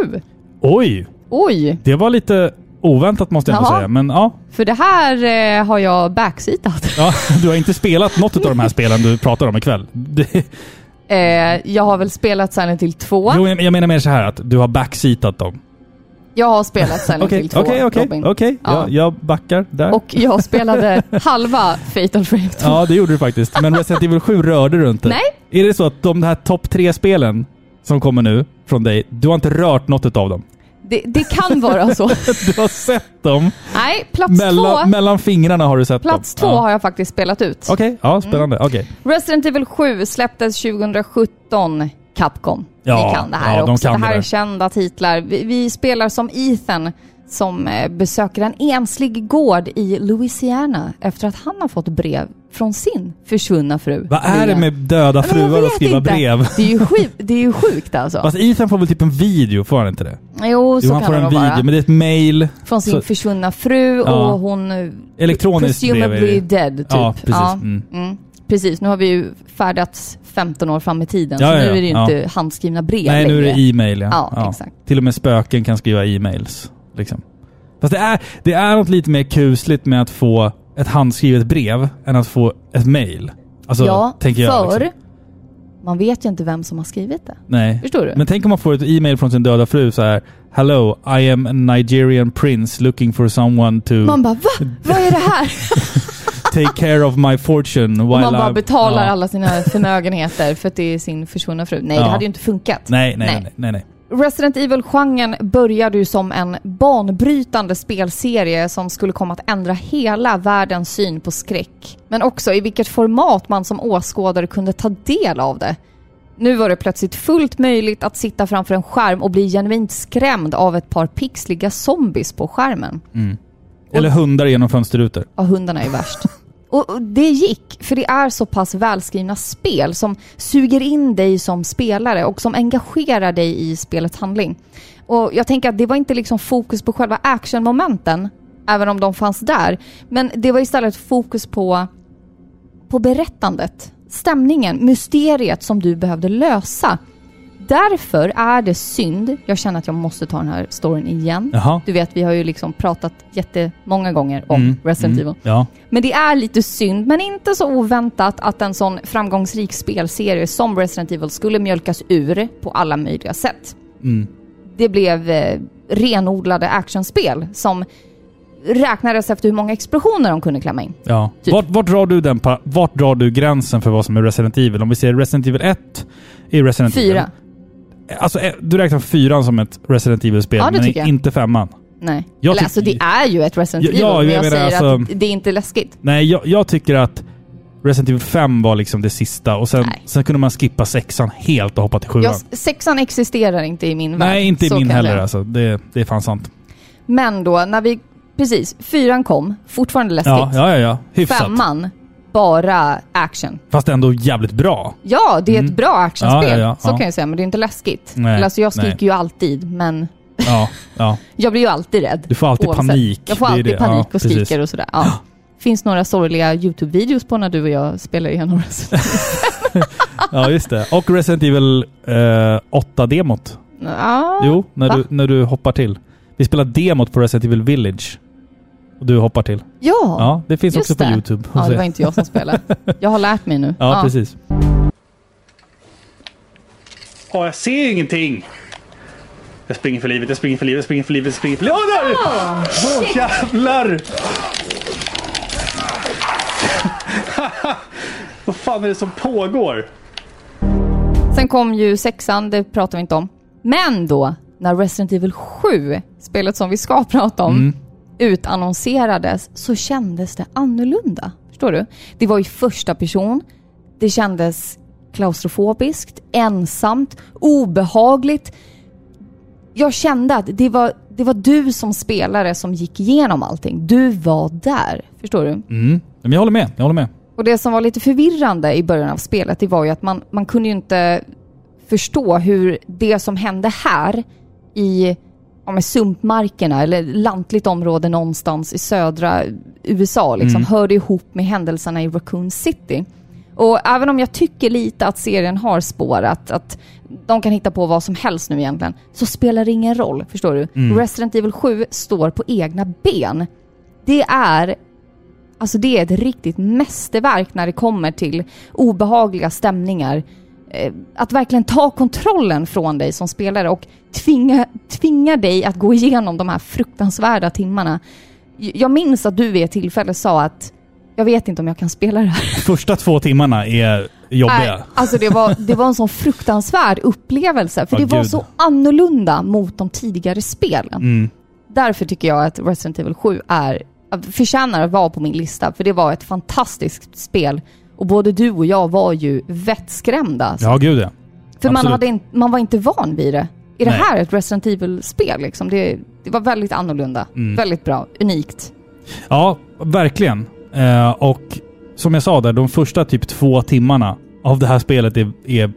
S1: Oj,
S2: Oj!
S1: det var lite oväntat måste jag ändå
S2: Jaha.
S1: säga. Men ja,
S2: För det här eh, har jag backseatat.
S1: ja, du har inte spelat något av de här spelen du pratar om ikväll. Det,
S2: Eh, jag har väl spelat Silent Hill 2.
S1: jo, jag jag menar mer så här att du har backseatat dem.
S2: Jag har spelat Silent
S1: Okej,
S2: Hill 2,
S1: okej, okej.
S2: Robin.
S1: okej.
S2: Ja.
S1: Jag- Jag backar där.
S2: Och jag spelade halva Fatal Frame 2.
S1: Ja, det gjorde du faktiskt. Men Resident Evil 7 rörde du inte.
S2: Nej.
S1: Är det så att de här topp tre spelen som kommer nu från dig, du har inte rört något av dem?
S2: Det, det kan vara så.
S1: Du har sett dem?
S2: Nej, plats
S1: Mellan,
S2: två.
S1: mellan fingrarna har du sett
S2: Plats två
S1: dem?
S2: har jag Mm. faktiskt spelat ut.
S1: Okej, ja spännande. Okej.
S2: Resident Evil 7 släpptes 2017. Capcom.
S1: Ja,
S2: Ni kan det här
S1: ja, de
S2: också.
S1: kan det
S2: det här
S1: där.
S2: är kända titlar. Vi, vi spelar som Ethan som eh, besöker en enslig gård i Louisiana efter att han har fått brev från sin försvunna fru.
S1: Vad är det
S2: Leah.
S1: med döda
S2: Ja, men jag
S1: fruar och
S2: vet
S1: skriva
S2: inte.
S1: brev?
S2: Det är ju, skit, det är ju sjukt alltså.
S1: Fast Ethan får väl typ en video, får han inte det?
S2: Jo, så
S1: jo, han
S2: kan
S1: får
S2: det
S1: en
S2: nog
S1: video,
S2: vara.
S1: men det är ett mail.
S2: Från sin
S1: så-
S2: försvunna fru
S1: Ja.
S2: och hon... eh,
S1: Elektroniskt brev är det.
S2: Presumably dead, typ.
S1: Ja, precis. Mm.
S2: Mm. Precis, nu har vi ju färdats 15 år fram i tiden.
S1: Ja,
S2: så
S1: ja,
S2: nu
S1: ja.
S2: är det ju
S1: Ja.
S2: inte handskrivna brev
S1: Nej, nu är
S2: längre.
S1: det e-mail ja.
S2: Ja, exakt.
S1: Till och med spöken kan skriva e-mails. Liksom. Fast det är, det är något lite mer kusligt med att få ett handskrivet brev än att få ett mail. Alltså,
S2: ja,
S1: tänker jag.
S2: för
S1: Liksom.
S2: man vet ju inte vem som har skrivit det.
S1: Nej.
S2: Förstår du?
S1: Men tänk om man får ett e-mail från sin döda fru så här. Hello, I am a Nigerian prince looking for someone to
S2: Man bara va? Vad är det här?
S1: take care of my fortune
S2: Och
S1: while
S2: man bara
S1: I'm-"
S2: betalar
S1: Ja.
S2: alla sina förmögenheter för att det är sin försvunna fru. Nej,
S1: Ja.
S2: det hade ju inte funkat.
S1: Nej, nej, nej. nej, nej.
S2: Resident Evil-genren började ju som en banbrytande spelserie som skulle komma att ändra hela världens syn på skräck. Men också i vilket format man som åskådare kunde ta del av det. Nu var det plötsligt fullt möjligt att sitta framför en skärm och bli genuint skrämd av ett par pixliga zombies på skärmen.
S1: Eller hundar genom fönsterrutor.
S2: Ja, hundarna är värst. Och och det gick, för det är så pass välskrivna spel som suger in dig som spelare och som engagerar dig i spelets handling. Och jag tänker att det var inte liksom fokus på själva actionmomenten, även om de fanns där. Men det var istället fokus på, på berättandet, stämningen, mysteriet som du behövde lösa. Därför är det synd, jag känner att jag måste ta den här storyn igen.
S1: Jaha.
S2: Du vet, vi har ju liksom pratat jättemånga gånger om
S1: Mm.
S2: Resident Evil.
S1: Ja.
S2: Men det är lite synd, men inte så oväntat att en sån framgångsrik spelserie som Resident Evil skulle mjölkas ur på alla möjliga sätt.
S1: Mm.
S2: Det blev eh, renodlade actionspel som räknades efter hur många explosioner de kunde klämma in.
S1: Ja.
S2: Typ.
S1: Vart, vart, drar du den, pa- vart drar du gränsen för vad som är Resident Evil? Om vi ser Resident Evil 1 i Resident
S2: Fyra.
S1: Evil. Alltså, eh, du räknar fyran som ett Resident Evil-spel,
S2: Ja, det
S1: men
S2: tycker jag.
S1: inte femman.
S2: Nej.
S1: Jag
S2: Eller,
S1: tyck-
S2: alltså det är ju ett Resident
S1: Ja,
S2: Evil,
S1: ja,
S2: men
S1: jag
S2: jag,
S1: menar
S2: säger
S1: alltså-
S2: att det är inte läskigt.
S1: Nej, jag, jag tycker att Resident Evil 5 var liksom det sista och sen,
S2: Nej.
S1: sen kunde man skippa sexan helt och hoppa till sjuan.
S2: Jag, sexan existerar inte i min värld.
S1: Nej, inte i
S2: så
S1: min
S2: kan jag
S1: heller
S2: säga.
S1: alltså. Det, det är fan sant.
S2: Men då, när vi... Precis, fyran kom, fortfarande läskigt.
S1: Ja, ja, ja, ja. Hyfsat.
S2: Femman, bara action.
S1: Fast ändå jävligt bra.
S2: Ja, det är ett bra actionspel.
S1: Mm. Ja, ja, ja,
S2: så
S1: ja.
S2: kan jag säga, men det är inte läskigt.
S1: Nej,
S2: Eller, alltså, jag skriker
S1: nej.
S2: ju alltid, men
S1: Ja, ja.
S2: jag blir ju alltid rädd.
S1: Du får alltid panik.
S2: Jag får
S1: Det är
S2: alltid
S1: det.
S2: panik
S1: Ja,
S2: och
S1: precis.
S2: skriker och sådär. Ja. finns några sorgliga YouTube-videos på när du och jag spelar igenom Resident
S1: Ja, just det. Och Resident Evil eh, 8-demot.
S2: Evil. Ja.
S1: Jo, när
S2: Va?
S1: du, när du hoppar till. Vi spelar demot på Resident Evil Village. Och du hoppar till.
S2: ja.
S1: Ja, det finns
S2: just
S1: också på
S2: det.
S1: Youtube.
S2: Ja, det var
S1: ja,
S2: inte jag som spelade. Jag har lärt mig nu.
S1: precis.
S5: Ja, jag ser ingenting. Jag springer för livet, jag springer för livet, jag springer för livet, jag springer för livet. Åh, där! Åh, jävlar! Vad fan är det som pågår?
S2: Sen kom ju sexan, det pratar vi inte om. Men då, när Resident Evil 7, spelet som vi ska prata om, utannonserades så kändes det annorlunda. Förstår du? Det var i första person. Det kändes klaustrofobiskt, ensamt, obehagligt. Jag kände att det var, det var du som spelare som gick igenom allting. Du var där. Förstår du?
S1: Mm. Men jag håller med, jag håller med.
S2: Och det som var lite förvirrande i början av spelet, det var ju att man, man kunde ju inte förstå hur det som hände här i ja, men sumpmarkerna eller lantligt område någonstans i södra USA liksom, hörde ihop med händelserna i Raccoon City. Och även om jag tycker lite att serien har spårat, att de kan hitta på vad som helst nu egentligen, så spelar det ingen roll. Förstår du? Resident Evil 7 står på egna ben. Det är Alltså det är ett riktigt mästerverk när det kommer till obehagliga stämningar. Eh, Att verkligen ta kontrollen från dig som spelare och tvinga, tvinga dig att gå igenom de här fruktansvärda timmarna. J- Jag minns att du vid ett tillfälle sa att jag vet inte om jag kan spela det här.
S1: Första två timmarna är jobbiga.
S2: Nej, Alltså det var, det var en sån fruktansvärd upplevelse för
S1: Ja,
S2: det var
S1: gud. Mm.
S2: så annorlunda mot de tidigare spelen. Därför tycker jag att Resident Evil 7 är, förtjänar att vara på min lista för det var ett fantastiskt spel och både du och jag var ju vettskrämda.
S1: Ja, gud ja.
S2: för man,
S1: absolut.
S2: hade in, man var inte van vid det. Är det
S1: Nej.
S2: här ett Resident Evil-spel? Liksom? Det, det var väldigt annorlunda.
S1: Mm.
S2: Väldigt bra. Unikt.
S1: Ja, verkligen. Eh, och som jag sa där, de första typ två timmarna av det här spelet är, är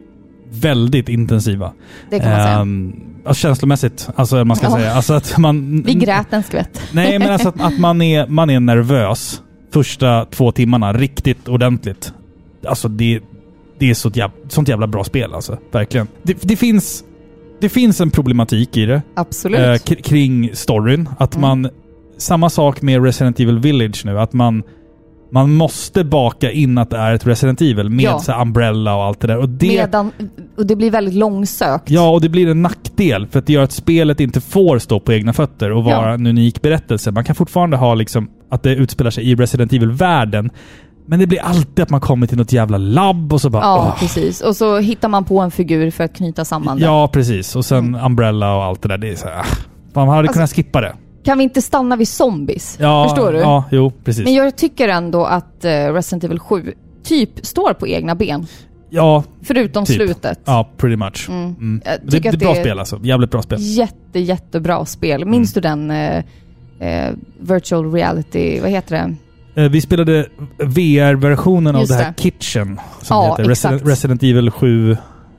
S1: väldigt intensiva.
S2: Det kan man säga.
S1: Ehm, alltså känslomässigt, alltså man ska
S2: Ja.
S1: säga. Alltså att man...
S2: Vi grät en skvätt.
S1: Nej, men alltså att, att man, är, man är nervös första två timmarna riktigt ordentligt. Alltså det, det är så jäv, sånt jävla bra spel alltså. Verkligen. Det, det, finns, det finns en problematik i det.
S2: Absolut. Mm.
S1: Eh, k- kring storyn. Att man... Samma sak med Resident Evil Village nu. Att man... Man måste baka in att det är ett Resident Evil med
S2: Ja.
S1: så här umbrella och allt det där. Och det,
S2: Medan, och det blir väldigt långsökt.
S1: Ja, och det blir en nackdel för att det gör att spelet inte får stå på egna fötter och vara
S2: Ja.
S1: en unik berättelse. Man kan fortfarande ha liksom att det utspelar sig i Resident Evil-världen. Men det blir alltid att man kommer till något jävla labb och så bara...
S2: Ja,
S1: "Åh,
S2: precis. Och så hittar man på en figur för att knyta samman det.
S1: ja precis. Och sen
S2: Mm.
S1: Umbrella och allt det där. Det är så här, ah, man
S2: Alltså,
S1: hade kunnat skippa det.
S2: Kan vi inte stanna vid zombies?
S1: Ja,
S2: Förstår du?
S1: Ja, jo, precis.
S2: Men jag tycker ändå att eh, Resident Evil 7 typ står på egna ben.
S1: ja,
S2: Förutom
S1: Typ.
S2: slutet.
S1: Ja, pretty much. Mm.
S2: Jag
S1: Det, det
S2: tycker
S1: är
S2: att
S1: bra
S2: det är-
S1: spel Mm. alltså. Jävligt bra spel.
S2: Jätte, jättebra spel. Minns du den eh, eh, virtual reality, vad heter det?
S1: Eh, Vi spelade VR-versionen av
S2: Just
S1: det här
S2: det.
S1: Kitchen. Som
S2: Ja,
S1: det heter Resident,
S2: exakt.
S1: Resident Evil 7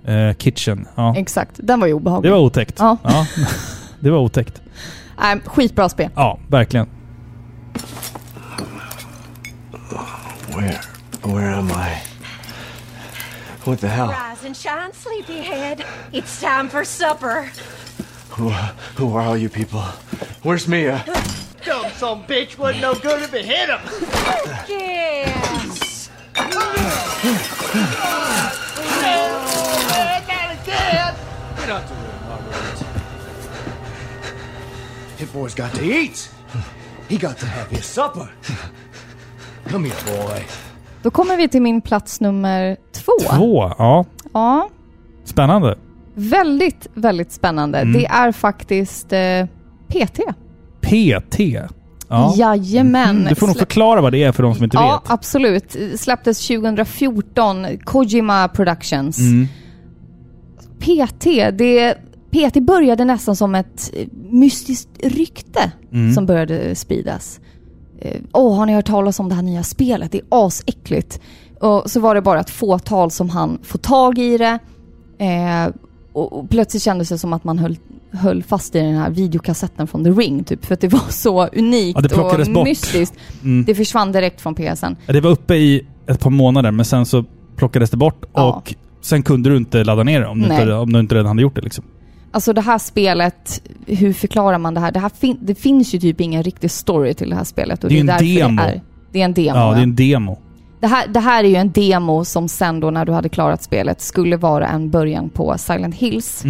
S1: eh, Kitchen. Ja.
S2: Exakt, den var ju obehaglig.
S1: Det var otäckt.
S2: Ja.
S1: Det var otäckt.
S2: Nej, skitbra spel.
S1: Ja, verkligen.
S6: Where? Where am I? What the hell?
S7: Rise and shine, sleepyhead. It's time for supper.
S6: Who, who are all you people? Where's Mia?
S8: Dumb some bitch wasn't no good if it hit him.
S7: Yeah.
S6: Hit boy's got to eat. He got to have his supper. Come here, boy.
S2: Då kommer vi till min plats nummer två.
S1: Två, ja.
S2: Ja,
S1: Spännande.
S2: väldigt, väldigt spännande.
S1: Mm.
S2: Det är faktiskt eh, PT.
S1: PT. Ja. Mm.
S2: Jajamän.
S1: Du får nog
S2: Slä-
S1: förklara vad det är för de som inte
S2: Ja,
S1: vet.
S2: absolut. Släpptes 2014, Kojima Productions.
S1: Mm.
S2: PT, det, PT började nästan som ett mystiskt rykte
S1: Mm.
S2: som började spridas. Eh, Åh, har ni hört talas om det här nya spelet? Det är asäckligt. Och så var det bara ett fåtal som han få tag i det. Eh, och, och plötsligt kändes det som att man höll, höll fast i den här videokassetten från The Ring, typ. För att det var så
S1: Ja, det
S2: unikt
S1: plockades
S2: och
S1: bort. Mm.
S2: mystiskt. Det försvann direkt från PSN.
S1: Det var uppe i ett par månader, men sen så plockades det bort
S2: Ja.
S1: och sen kunde du inte ladda ner det om du,
S2: Nej.
S1: inte, om du inte redan hade gjort det. Liksom.
S2: Alltså det här spelet, hur förklarar man det här? Det, här fin- det finns ju typ ingen riktig story till det här spelet. Och
S1: Det är en
S2: därför
S1: demo.
S2: Det är, det är en demo.
S1: Ja,
S2: ja.
S1: det är en demo.
S2: det, här, det här är ju en demo som sen då när du hade klarat spelet skulle vara en början på Silent Hills.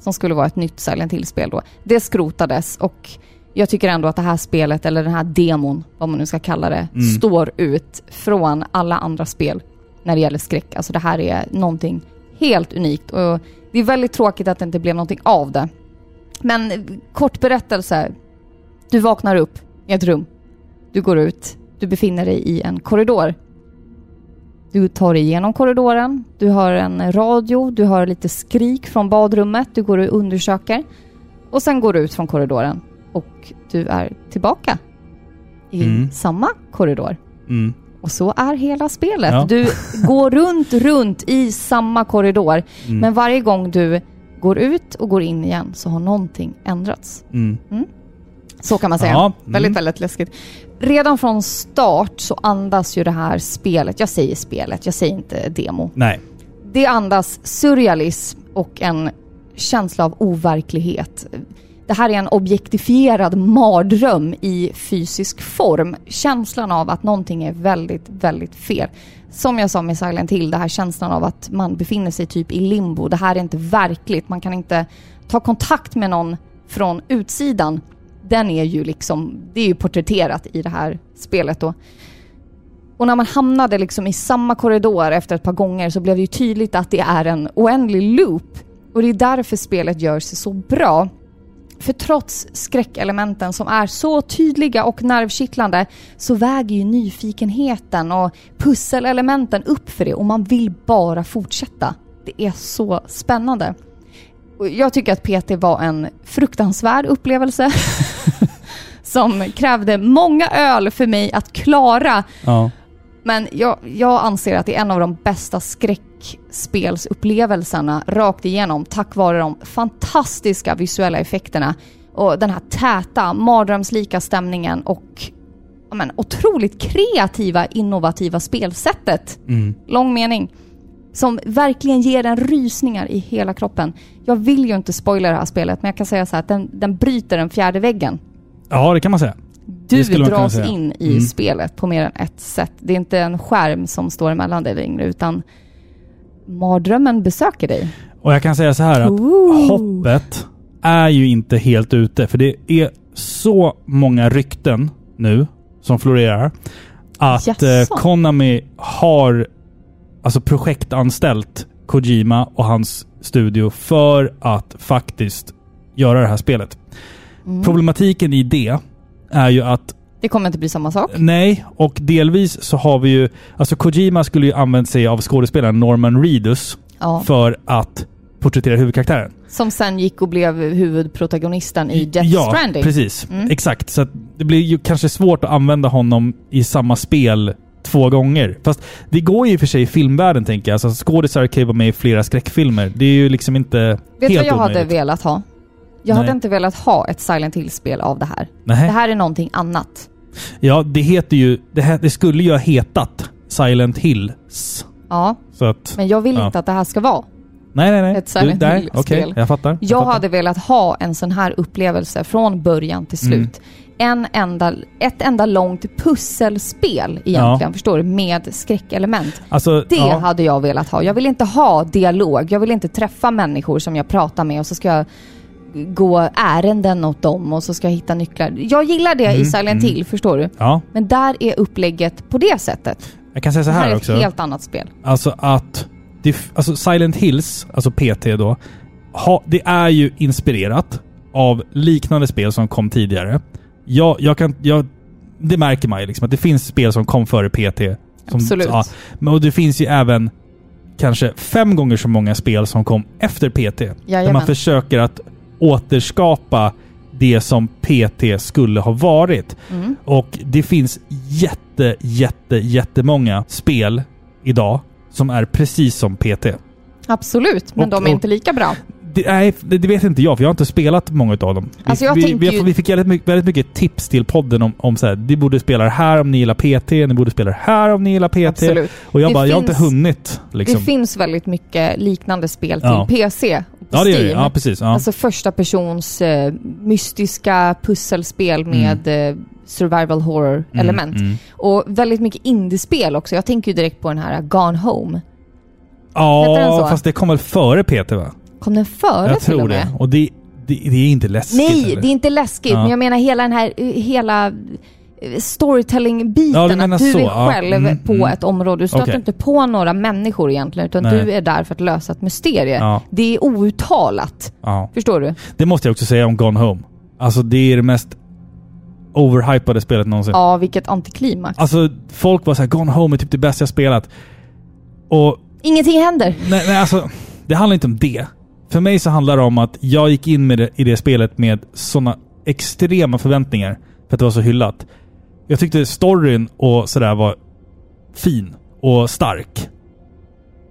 S2: Som skulle vara ett nytt Silent Hills-spel då. Det skrotades och jag tycker ändå att det här spelet, eller den här demon, vad man nu ska kalla det, står ut från alla andra spel när det gäller skräck. Alltså det här är någonting helt unikt och det är väldigt tråkigt att det inte blev någonting av det. Men eh, kort berättelse. Du vaknar upp i ett rum. Du går ut. Du befinner dig i en korridor. Du tar dig igenom korridoren. Du hör en radio. Du hör lite skrik från badrummet. Du går och undersöker. Och sen går du ut från korridoren. Och du är tillbaka i samma korridor.
S1: Mm.
S2: Och så är hela spelet.
S1: Ja.
S2: Du går runt, runt i samma korridor.
S1: Mm.
S2: Men varje gång du går ut och går in igen så har någonting ändrats.
S1: Mm.
S2: Så kan man säga.
S1: Ja, mm.
S2: Väldigt, väldigt läskigt. Redan från start så andas ju det här spelet, jag säger spelet, jag säger inte demo.
S1: Nej.
S2: Det andas surrealism och en känsla av overklighet. Det här är en objektifierad mardröm i fysisk form. Känslan av att någonting är väldigt, väldigt fel. Som jag sa med Silent Hill, det här känslan av att man befinner sig typ i limbo. Det här är inte verkligt. Man kan inte ta kontakt med någon från utsidan. Den är ju liksom, det är ju porträtterat i det här spelet då. Och när man hamnade liksom i samma korridor efter ett par gånger så blev det ju tydligt att det är en oändlig loop. Och det är därför spelet gör sig så bra. För trots skräckelementen som är så tydliga och nervkittlande så väger ju nyfikenheten och pusselelementen upp för det och man vill bara fortsätta. Det är så spännande. Och jag tycker att PT var en fruktansvärd upplevelse. som krävde många öl för mig att klara.
S1: Ja.
S2: Men jag, jag anser att det är en av de bästa skräckspelsupplevelserna rakt igenom tack vare de fantastiska visuella effekterna och den här täta, mardrömslika stämningen och ja, men, otroligt kreativa, innovativa spelsättet. Lång mening. Som verkligen ger en rysningar i hela kroppen. Jag vill ju inte spoila det här spelet, men jag kan säga så här att den, den bryter den fjärde väggen.
S1: ja, det kan man säga.
S2: Du
S1: Det skulle man kunna
S2: dras
S1: säga. Mm.
S2: in i spelet på mer än ett sätt. Det är inte en skärm som står emellan dig längre, utan mardrömmen besöker dig.
S1: Och jag kan säga så här att hoppet är ju inte helt ute. För det är så många rykten nu som florerar. Att
S2: Jaså?
S1: eh, Konami har alltså projektanställt Kojima och hans studio för att faktiskt göra det här spelet. Problematiken i det är ju att
S2: Det kommer inte bli samma sak.
S1: Eh, Nej, och delvis så har vi ju... Alltså Kojima skulle ju använt sig av skådespelaren Norman Reedus
S2: Ja.
S1: för att porträttera huvudkaraktären.
S2: Som sen gick och blev huvudprotagonisten i Death
S1: ja,
S2: Stranding. Mm.
S1: precis. Exakt. Så att det blir ju kanske svårt att använda honom i samma spel två gånger. Fast det går ju i och för sig i filmvärlden tänker jag. Alltså skådisar kan ju vara med i flera skräckfilmer. Det är ju liksom inte
S2: Vet du
S1: helt
S2: vad jag hade
S1: omöjligt.
S2: velat ha? Jag hade
S1: Nej.
S2: inte velat ha ett Silent Hill-spel av det här.
S1: Nej.
S2: Det här är någonting annat.
S1: Ja, det heter ju... Det, här, det skulle ju ha hetat Silent Hills.
S2: Ja,
S1: Så att...
S2: men jag vill
S1: Ja.
S2: inte att det här ska vara.
S1: nej, nej, nej.
S2: ett Silent
S1: Du- nej,
S2: Hill-spel.
S1: Okej, jag fattar.
S2: Jag
S1: fattar.
S2: hade velat ha en sån här upplevelse från början till
S1: Mm.
S2: slut. En enda, ett enda långt pusselspel egentligen,
S1: Ja.
S2: förstår du? Med skräckelement.
S1: Alltså,
S2: Det
S1: ja.
S2: hade jag velat ha. Jag vill inte ha dialog. Jag vill inte träffa människor som jag pratar med och så ska jag gå ärenden åt dem och så ska jag hitta nycklar. Jag gillar det i Silent Hill, förstår du?
S1: Mm, Ja,
S2: Men där är upplägget på det sättet.
S1: jag kan säga så
S2: Det här
S1: här
S2: är
S1: också.
S2: ett helt annat spel.
S1: Alltså att... Det, f- alltså Silent Hills, alltså PT då, ha, det är ju inspirerat av liknande spel som kom tidigare. Jag, jag kan... Jag, det märker man ju liksom, att det finns spel som kom före PT. Som,
S2: Absolut.
S1: men och det finns ju även kanske fem gånger så många spel som kom efter PT. Där man
S2: Jajamän.
S1: försöker att återskapa det som PT skulle ha varit.
S2: Mm.
S1: Och det finns jätte, jätte, jättemånga spel idag som är precis som PT.
S2: Absolut, men
S1: Och-
S2: de är
S1: och-
S2: inte lika bra.
S1: Det, nej, det det vet inte jag, för jag har inte spelat många av dem.
S2: Alltså,
S1: vi,
S2: jag
S1: vi,
S2: tänker
S1: vi,
S2: ju-
S1: vi fick väldigt mycket, väldigt mycket tips till podden om, om så här, ni borde spela det här om ni gillar PT, ni borde spela det här om ni gillar PT.
S2: Absolut.
S1: Och jag
S2: Det
S1: bara, jag har inte
S2: finns-
S1: hunnit. Liksom.
S2: Det finns väldigt mycket liknande spel till
S1: Ja.
S2: PC och på
S1: ja, det gör det.
S2: Steam.
S1: Ja, precis. Ja.
S2: Alltså första persons eh, mystiska pusselspel
S1: Mm.
S2: med eh, survival horror element. Och väldigt mycket indiespel också. Jag tänker ju direkt på den här Gone Home. heter den
S1: ja
S2: så?
S1: fast det kom väl före PT va?
S2: Kom den före
S1: jag
S2: till
S1: tror
S2: och med?
S1: det. Och det, det, det är inte läskigt.
S2: Nej,
S1: eller?
S2: det är inte läskigt.
S1: Ja.
S2: Men jag menar hela den här eh, hela eh, storytelling-biten.
S1: Ja, du menar
S2: att du
S1: så.
S2: är
S1: Ja,
S2: själv
S1: mm,
S2: på
S1: mm.
S2: ett område. Du stöter
S1: Okej.
S2: inte på några människor egentligen, utan
S1: Nej.
S2: du är där för att lösa ett mysterie.
S1: Ja.
S2: Det är outtalat.
S1: Ja.
S2: Förstår du?
S1: Det måste jag också säga om Gone Home. Alltså det är det mest overhypade spelet någonsin.
S2: Ja, vilket antiklimax.
S1: Alltså folk var såhär, Gone Home är typ det bästa jag spelat. Och
S2: Ingenting händer.
S1: nej, nej alltså, det handlar inte om det. För mig så handlar det om att jag gick in med det, i det spelet med sådana extrema förväntningar. För att det var så hyllat. Jag tyckte storyn och sådär var fin och stark.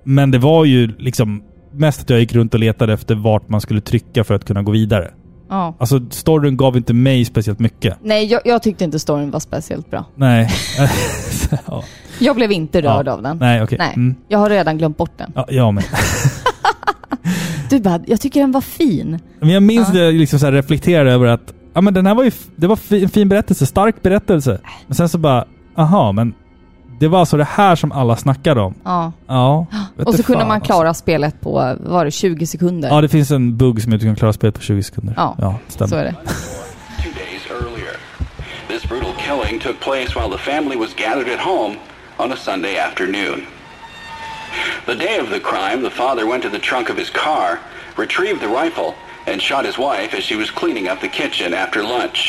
S1: Men det var ju liksom mest att jag gick runt och letade efter vart man skulle trycka för att kunna gå vidare.
S2: Ja.
S1: Alltså storyn gav inte mig speciellt mycket.
S2: Nej, jag, jag tyckte inte storyn var speciellt bra.
S1: Nej. ja.
S2: Jag blev inte rörd
S1: Ja.
S2: av den.
S1: Nej, okej.
S2: Nej.
S1: Mm.
S2: Jag har redan glömt bort den.
S1: Ja, jag med.
S2: Du bara, jag tycker den var fin.
S1: Men jag minns det, jag liksom så här reflekterade över att ja, men den här var ju, f- det var fi- en fin berättelse, stark berättelse. Men sen så bara, aha, men det var alltså det här som alla snackade om.
S2: Ja.
S1: Ja. vet
S2: Och så
S1: du
S2: kunde
S1: fan,
S2: man klara
S1: alltså.
S2: spelet på, vad var det 20 sekunder?
S1: Ja, det finns en bugg som gör att du kan klara spelet på 20 sekunder.
S2: Ja,
S1: stämmer.
S2: så är det.
S9: two days earlier. This brutal killing took place while the family was gathered at home on a Sunday afternoon. The day of the crime, the father went to the trunk of his car, retrieved the rifle, and shot his wife as she was cleaning up the kitchen after lunch.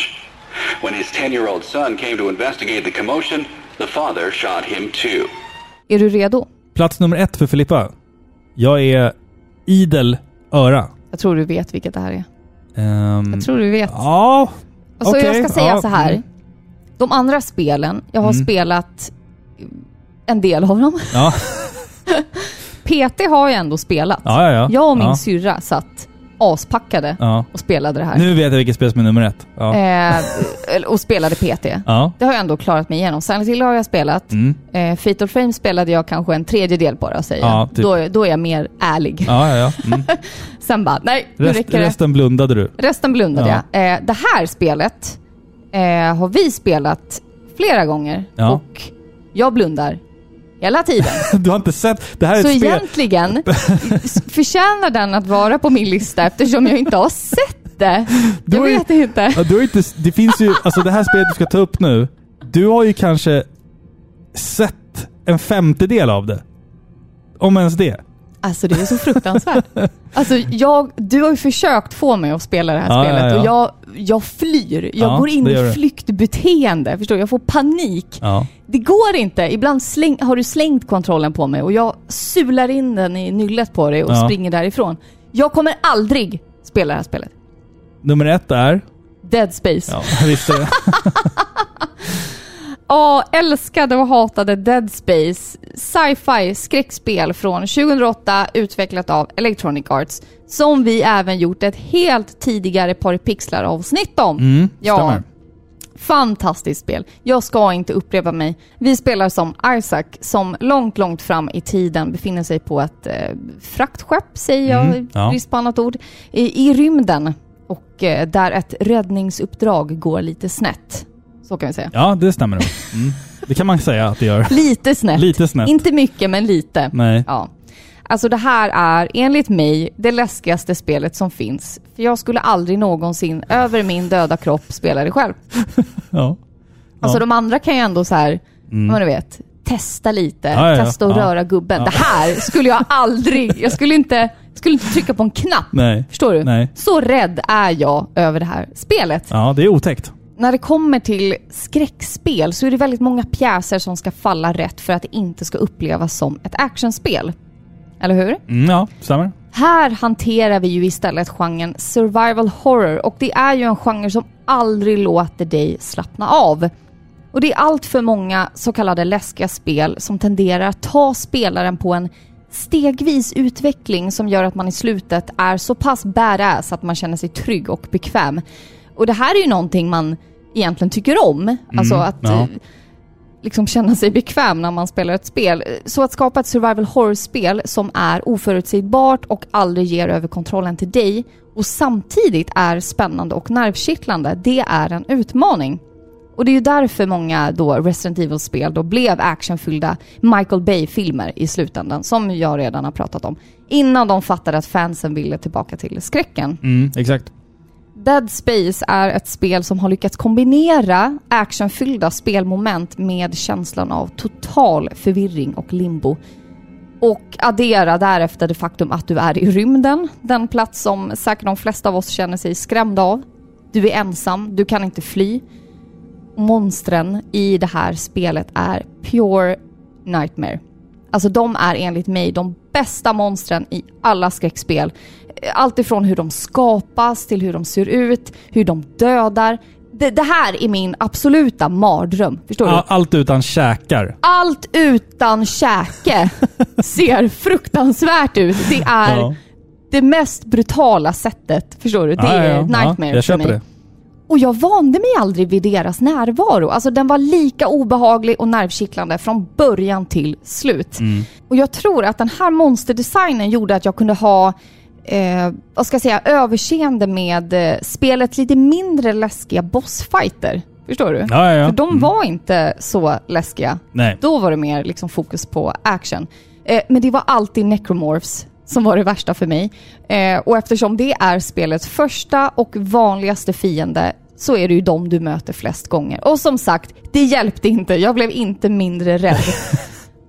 S9: When his 10-year-old son came to investigate the commotion, the father shot him too.
S2: Är du redo?
S1: Plats nummer ett för Filippa. Jag är idel öra.
S2: Jag tror du vet vilket det här är.
S1: Ehm,
S2: Jag tror du vet.
S1: Ja,
S2: Alltså
S1: okej,
S2: jag ska säga
S1: ja,
S2: så här.
S1: mm.
S2: De andra spelen, jag har
S1: Mm.
S2: spelat en del av dem.
S1: ja,
S2: PT har jag ändå spelat.
S1: ja, ja, ja.
S2: Jag och min
S1: ja,
S2: syrra satt aspackade
S1: ja.
S2: och spelade det här.
S1: Nu vet jag vilket spel som är nummer ett. Ja.
S2: Eh, eller- och spelade PT.
S1: ja.
S2: Det har jag ändå klarat mig igenom. Silent Hill har jag spelat.
S1: Mm.
S2: Eh, Fatal Frame spelade jag kanske en tredjedel på då, säger
S1: Ja,
S2: jag.
S1: typ.
S2: Då, är- då är jag mer ärlig.
S1: Ja, ja, ja. Mm.
S2: Sen bara, nej, nu
S1: Rest,
S2: räcker det.
S1: resten blundade du.
S2: Resten blundade
S1: Ja.
S2: jag. Eh, det här spelet eh, har vi spelat flera gånger
S1: Ja.
S2: och jag blundar hela tiden.
S1: Du har inte sett? Det här är
S2: Så
S1: ett spel.
S2: egentligen s- förtjänar den att vara på min lista eftersom jag inte har sett det.
S1: Du
S2: Jag
S1: har ju-
S2: vet inte.
S1: Ja, du har inte, det finns ju, alltså det här spelet du ska ta upp nu, du har ju kanske sett en femtedel av det. Om ens det.
S2: Alltså det är så fruktansvärt. Alltså jag, du har ju försökt få mig att spela det här
S1: Ja,
S2: spelet
S1: ja, ja.
S2: och jag, jag flyr. Jag
S1: Ja,
S2: går in
S1: det gör
S2: i
S1: du.
S2: flyktbeteende. Förstår du? Jag får panik.
S1: Ja.
S2: Det går inte. Ibland släng, har du slängt kontrollen på mig och jag sular in den i nyllet på dig och
S1: Ja.
S2: springer därifrån. Jag kommer aldrig spela det här spelet.
S1: Nummer ett är...
S2: Dead Space. Ja,
S1: Ja, visst är det.
S2: älskade och hatade Dead Space. Sci-fi skräckspel från 2008 utvecklat av Electronic Arts. Som vi även gjort ett helt tidigare Par pixlar avsnitt om.
S1: Mm,
S2: Ja.
S1: stämmer.
S2: Fantastiskt spel. Jag ska inte upprepa mig. Vi spelar som Isaac som långt, långt fram i tiden befinner sig på ett eh, fraktskepp, säger jag,
S1: Mm, ja.
S2: brist på annat ord, i, i rymden. Och eh, där ett räddningsuppdrag går lite snett. Så kan vi säga.
S1: Ja, det stämmer nog. Mm. Det kan man säga att det gör.
S2: Lite snett.
S1: Lite snett.
S2: Inte mycket, men lite.
S1: Nej.
S2: Ja. Alltså det här är enligt mig det läskigaste spelet som finns. För jag skulle aldrig någonsin över min döda kropp spela det själv.
S1: Ja.
S2: Alltså
S1: Ja. Mm.
S2: de andra kan ju ändå så här, men du vet, testa lite,
S1: Ja, ja, ja.
S2: testa och
S1: Ja.
S2: röra gubben. Det här skulle jag aldrig, jag skulle inte, skulle inte trycka på en knapp.
S1: Nej.
S2: Förstår du?
S1: Nej.
S2: Så rädd är jag över det här spelet.
S1: Ja, det är otäckt.
S2: När det kommer till skräckspel så är det väldigt många pjäser som ska falla rätt för att det inte ska upplevas som ett actionspel. Eller hur?
S1: Mm, ja, stämmer.
S2: Här hanterar vi ju istället genren survival horror och det är ju en genre som aldrig låter dig slappna av. Och det är allt för många så kallade läskiga spel som tenderar att ta spelaren på en stegvis utveckling som gör att man i slutet är så pass badass att man känner sig trygg och bekväm. Och det här är ju någonting man egentligen tycker om. alltså att
S1: ja.
S2: liksom känna sig bekväm när man spelar ett spel. Så att skapa ett survival horror-spel som är oförutsägbart och aldrig ger över kontrollen till dig och samtidigt är spännande och nervkittlande, det är en utmaning. Och det är ju därför många då Resident Evil-spel då blev actionfyllda Michael Bay-filmer i slutändan, som jag redan har pratat om. Innan de fattade att fansen ville tillbaka till skräcken.
S1: Mm, exakt.
S2: Dead Space är ett spel som har lyckats kombinera actionfyllda spelmoment med känslan av total förvirring och limbo. Och addera därefter det faktum att du är i rymden, den plats som säkert de flesta av oss känner sig skrämda av. Du är ensam, du kan inte fly. Monstren i det här spelet är pure nightmare. Alltså de är enligt mig de bästa monstren i alla skräckspel. Allt ifrån hur de skapas till hur de ser ut, hur de dödar. Det, det här är min absoluta mardröm. Förstår du?
S1: A- Allt utan käkar.
S2: Allt utan käke ser fruktansvärt ut. Det är
S1: Ja.
S2: det mest brutala sättet, förstår du? Det
S1: Ja, ja,
S2: är
S1: ja.
S2: nightmare
S1: Ja, jag
S2: för
S1: köper
S2: mig.
S1: det.
S2: Och jag vande mig aldrig vid deras närvaro. Alltså den var lika obehaglig och nervkittlande från början till slut.
S1: Mm.
S2: Och jag tror att den här monsterdesignen gjorde att jag kunde ha Eh, vad ska jag säga, överseende med eh, spelet lite mindre läskiga bossfighter. Förstår du?
S1: Ja, ja, ja.
S2: För de
S1: Mm.
S2: var inte så läskiga.
S1: Nej.
S2: Då var det mer liksom fokus på action. Eh, men det var alltid necromorphs som var det värsta för mig. Eh, och eftersom det är spelets första och vanligaste fiende så är det ju de du möter flest gånger. Och som sagt, det hjälpte inte. Jag blev inte mindre rädd.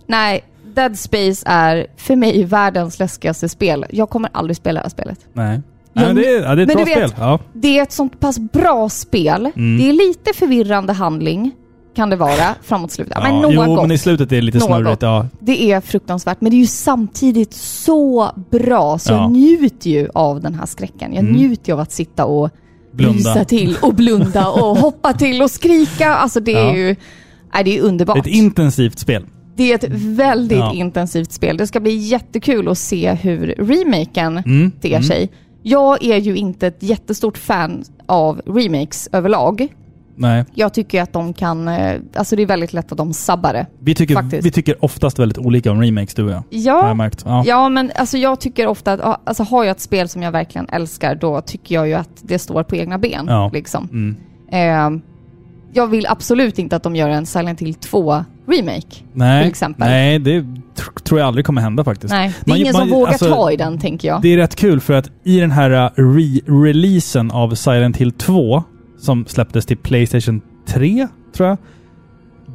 S2: Nej, Dead Space är för mig världens läskigaste spel. Jag kommer aldrig spela det här spelet.
S1: Nej. Nej, men det är, ja, Mm. det är ett
S2: Men
S1: bra
S2: du vet-
S1: spel. Ja.
S2: Det är ett sånt pass bra spel. Det är lite förvirrande handling. kan det vara framåt slutet.
S1: Ja,
S2: men något.
S1: jo, men i slutet är det lite
S2: Något.
S1: snurrigt. Ja.
S2: Det är fruktansvärt, men det är ju samtidigt så bra. Så
S1: Ja. Mm.
S2: jag njuter ju av den här skräcken. Jag njuter ju av att sitta och
S1: Blunda.
S2: rysa till och blunda och hoppa till och skrika. Alltså det är
S1: Ja.
S2: ju nej, det är underbart.
S1: Ett intensivt spel.
S2: det är ett väldigt
S1: Mm. Ja.
S2: intensivt spel. Det ska bli jättekul att se hur remaken
S1: Mm.
S2: ter sig. Jag är ju inte ett jättestort fan av remakes överlag.
S1: Nej.
S2: Jag tycker att de kan, eh, alltså det är väldigt lätt att de sabbar det.
S1: Vi tycker,
S2: Faktiskt.
S1: vi tycker oftast väldigt olika om remakes, du och jag. Har jag
S2: Ja,
S1: märkt. Ja.
S2: Ja, men alltså jag tycker ofta att ja, alltså har jag ett spel som jag verkligen älskar, då tycker jag ju att det står på egna ben.
S1: Ja.
S2: Liksom.
S1: Mm.
S2: Ehm, jag vill absolut inte att de gör en Silent Hill 2-remake.
S1: Nej.
S2: till exempel.
S1: Nej, det tr- tror jag aldrig kommer hända faktiskt.
S2: Nej, det är
S1: Man-
S2: ingen som
S1: man-
S2: vågar
S1: alltså,
S2: ta i den, tänker jag.
S1: Det är rätt kul för att i den här eh, re-releasen av Silent Hill 2 som släpptes till Playstation 3, tror jag.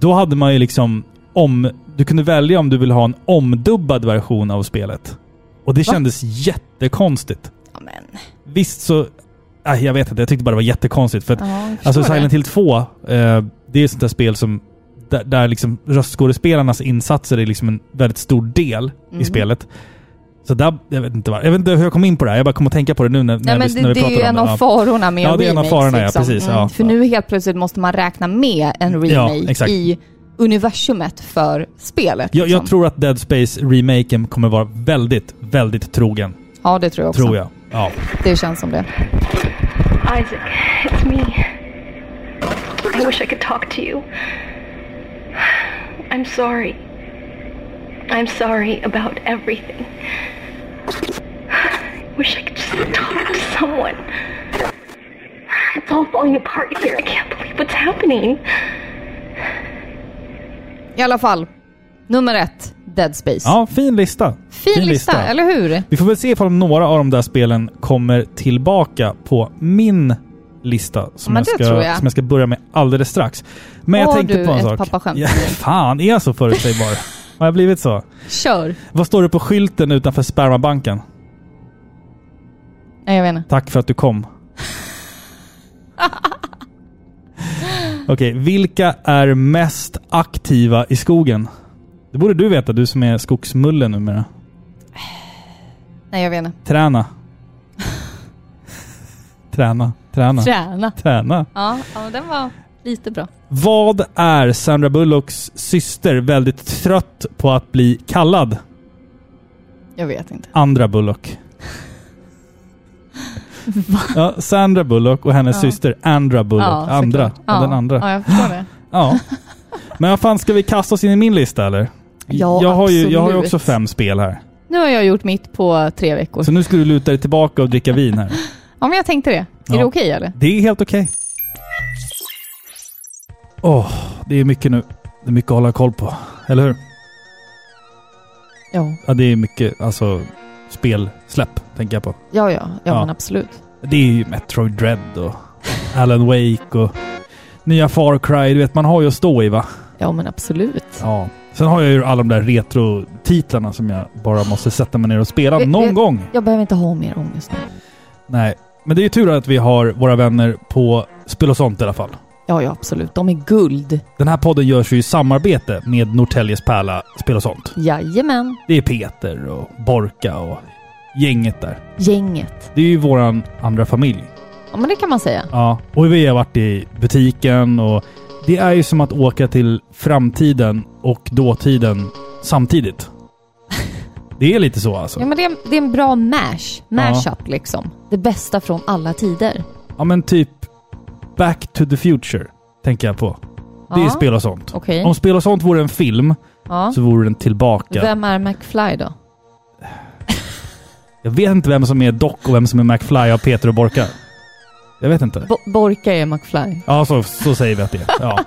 S1: Då hade man ju liksom om... Du kunde välja om du ville ha en omdubbad version av spelet. Och det
S2: Va?
S1: kändes jättekonstigt.
S2: Ja, men,
S1: Visst så... Äh, jag vet inte, jag tyckte bara det var jättekonstigt. För att
S2: ja, jag
S1: Alltså
S2: förstår
S1: Silent
S2: det.
S1: Hill 2, eh, det är ett sånt där spel som där, där liksom röstskådespelarnas insatser är liksom en väldigt stor del
S2: Mm.
S1: i spelet. Så där, jag vet inte vad, jag vet inte hur jag kom in på det här. Jag bara kom att tänka på det nu när, när,
S2: Nej,
S1: vi,
S2: men
S1: när
S2: det,
S1: vi
S2: det
S1: pratar
S2: är
S1: om
S2: ju en av
S1: Ja.
S2: farorna med
S1: Ja,
S2: en
S1: det är en av
S2: remake. liksom. Mm.
S1: farorna, ja, precis, ja.
S2: För
S1: Ja.
S2: nu helt plötsligt måste man räkna med en remake
S1: exakt.
S2: i universumet för spelet.
S1: Jag,
S2: liksom.
S1: jag tror att Dead Space remaken kommer vara väldigt, väldigt trogen.
S2: ja, det tror jag också.
S1: Tror jag. Ja.
S2: Det känns som det.
S10: Isaac, it's me. I wish I could talk to you. I'm sorry. I'm sorry about everything. I wish I could just talk to someone. It's all falling apart here. I can't believe what's happening.
S2: I alla fall, nummer ett, Dead Space.
S1: ja, fin lista.
S2: fin, lista, eller hur?
S1: Vi får väl se ifall om några av de där spelen kommer tillbaka på min lista som,
S2: Men
S1: jag
S2: det
S1: ska,
S2: tror jag.
S1: som jag ska börja med alldeles strax. Men
S2: Har
S1: jag tänkte
S2: du
S1: på en
S2: ett
S1: sak.
S2: pappaskämt?
S1: Ja, fan, är jag så förutsägbar? Har jag blivit så?
S2: Kör!
S1: Vad står det på skylten utanför spermabanken?
S2: Nej, jag vet inte.
S1: Tack för att du kom. Okej, vilka är mest aktiva i skogen? Det borde du veta, du som är skogsmulle numera.
S2: Nej, jag vet inte.
S1: Träna. Träna. Träna.
S2: Träna.
S1: Träna.
S2: Ja, ja, men den var lite bra.
S1: Vad är Sandra Bullocks syster väldigt trött på att bli kallad?
S2: Jag vet inte.
S1: Andra Bullock. Ja, Sandra Bullock och hennes
S2: Ja.
S1: syster Andra Bullock.
S2: Ja,
S1: andra.
S2: såklart.
S1: Ja, den andra.
S2: Ja,
S1: Ja.
S2: jag förstår det.
S1: Men vad fan, ska vi kasta oss in i min lista eller?
S2: Ja,
S1: jag, har ju, jag har ju
S2: absolut.
S1: också fem spel här.
S2: Nu har jag gjort mitt på tre veckor.
S1: Så nu ska du luta dig tillbaka och dricka vin här.
S2: Ja, men jag tänkte det. Är
S1: Ja.
S2: det okej eller?
S1: Det är helt okej. Åh, det är mycket nu. Det är mycket att hålla koll på. Eller hur?
S2: Ja,
S1: Ja, det är mycket alltså spelsläpp, tänker jag på.
S2: ja, ja, ja,
S1: Ja.
S2: men absolut.
S1: Det är ju Metroid Dread och Alan Wake och nya Far Cry. Du vet, man har ju att stå i va?
S2: Ja, men absolut.
S1: Ja. Sen har jag ju alla de där retro-titlarna som jag bara måste sätta mig ner och spela
S2: Vi-
S1: någon
S2: vi-
S1: gång.
S2: Jag behöver inte ha mer ångest nu.
S1: Nej, men det är ju tur att vi har våra vänner på Spel och sånt i alla fall.
S2: Ja, ja, absolut. De är guld.
S1: Den här podden görs ju i samarbete med Norrtäljes pärla Spel och sånt.
S2: Jajamän.
S1: Det är Peter och Borka och gänget där.
S2: Gänget.
S1: Det är ju våran andra familj.
S2: Ja, men det kan man säga.
S1: Ja, och vi har varit i butiken och det är ju som att åka till framtiden och dåtiden samtidigt. Det är lite så alltså.
S2: Ja, men det är, det är en bra mash. Mashup liksom. Det bästa från alla tider.
S1: Ja men typ Back to the Future tänker jag på. Det är
S2: Ja.
S1: spel och sånt.
S2: Okej.
S1: Om spel och sånt vore en film
S2: Ja.
S1: så vore den tillbaka.
S2: Vem är McFly då?
S1: Jag vet inte vem som är Doc och vem som är McFly av Peter och Borka. Jag vet inte.
S2: Bo- Borka är McFly.
S1: Ja, så, så säger vi att det är. Ja.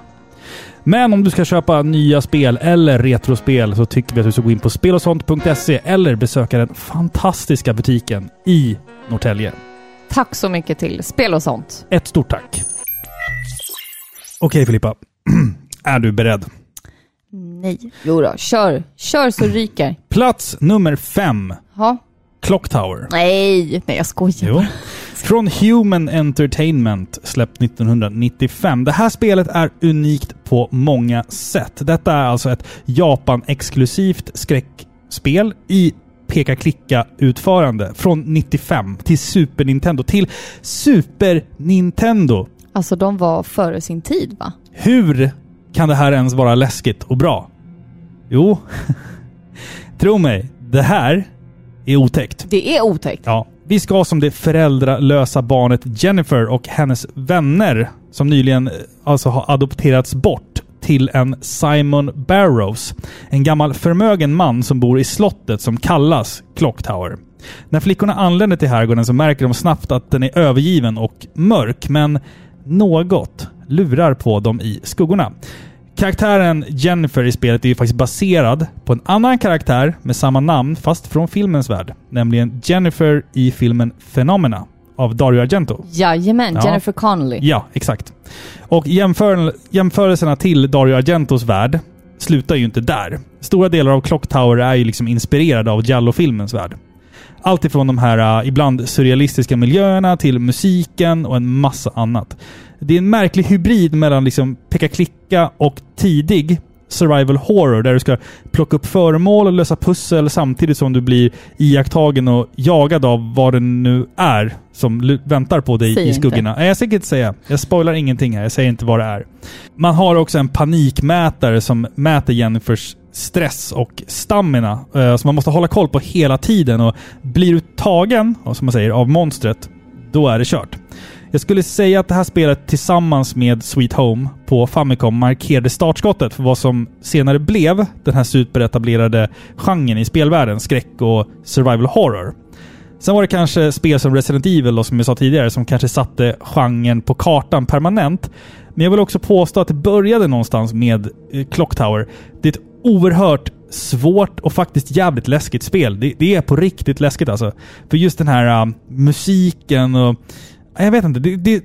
S1: Men om du ska köpa nya spel eller retrospel så tycker vi att du ska gå in på spelosont.se eller besöka den fantastiska butiken i Norrtälje.
S2: Tack så mycket till Spel och sånt.
S1: Ett stort tack! Okej Filippa, är du beredd?
S2: Nej. Jo då, kör. Kör så ryker.
S1: Plats nummer fem,
S2: Ja.
S1: Clock Tower.
S2: Nej, nej jag skojar.
S1: Jo. Från Human Entertainment, släppt 1995. Det här spelet är unikt på många sätt. Detta är alltså ett Japan-exklusivt skräckspel i peka-klicka-utförande från 95 till Super Nintendo, till Super Nintendo.
S2: Alltså de var före sin tid va?
S1: Hur kan det här ens vara läskigt och bra? Jo, tro mig, det här är otäckt.
S2: Det är otäckt.
S1: Ja. Vi ska som det föräldralösa barnet Jennifer och hennes vänner, som nyligen eh, alltså har adopterats bort till en Simon Barrows. En gammal förmögen man som bor i slottet som kallas Clock Tower. När flickorna anländer till herrgården så märker de snabbt att den är övergiven och mörk, men något lurar på dem i skuggorna. Karaktären Jennifer i spelet är ju faktiskt baserad på en annan karaktär med samma namn, fast från filmens värld. Nämligen Jennifer i filmen Phenomena av Dario Argento.
S2: Jajamän,
S1: Ja.
S2: Jennifer Connelly.
S1: Ja, exakt. Och jämför, jämförelserna till Dario Argentos värld slutar ju inte där. Stora delar av Clock Tower är ju liksom inspirerade av Giallo-filmens värld. Allt ifrån de här eh, ibland surrealistiska miljöerna till musiken och en massa annat. Det är en märklig hybrid mellan liksom peka-klicka och tidig survival horror där du ska plocka upp föremål och lösa pussel samtidigt som du blir iakttagen och jagad av vad det nu är som lu- väntar på dig
S2: Säg
S1: i
S2: inte.
S1: skuggorna. Nej, jag tänker inte säga. Jag spoilar ingenting här. Jag säger inte vad det är. Man har också en panikmätare som mäter Jennifers stress och stamina. eh, Som man måste hålla koll på hela tiden. Och blir du tagen, och som man säger, av monstret, då är det kört. Jag skulle säga att det här spelet tillsammans med Sweet Home på Famicom markerade startskottet för vad som senare blev den här superetablerade genren i spelvärlden, skräck och survival horror. Sen var det kanske spel som Resident Evil, då, som jag sa tidigare, som kanske satte genren på kartan permanent. Men jag vill också påstå att det började någonstans med eh, Clock Tower. Det är ett oerhört svårt och faktiskt jävligt läskigt spel. Det, det är på riktigt läskigt alltså. För just den här eh, musiken och... Nej, Jag vet inte. Det, det,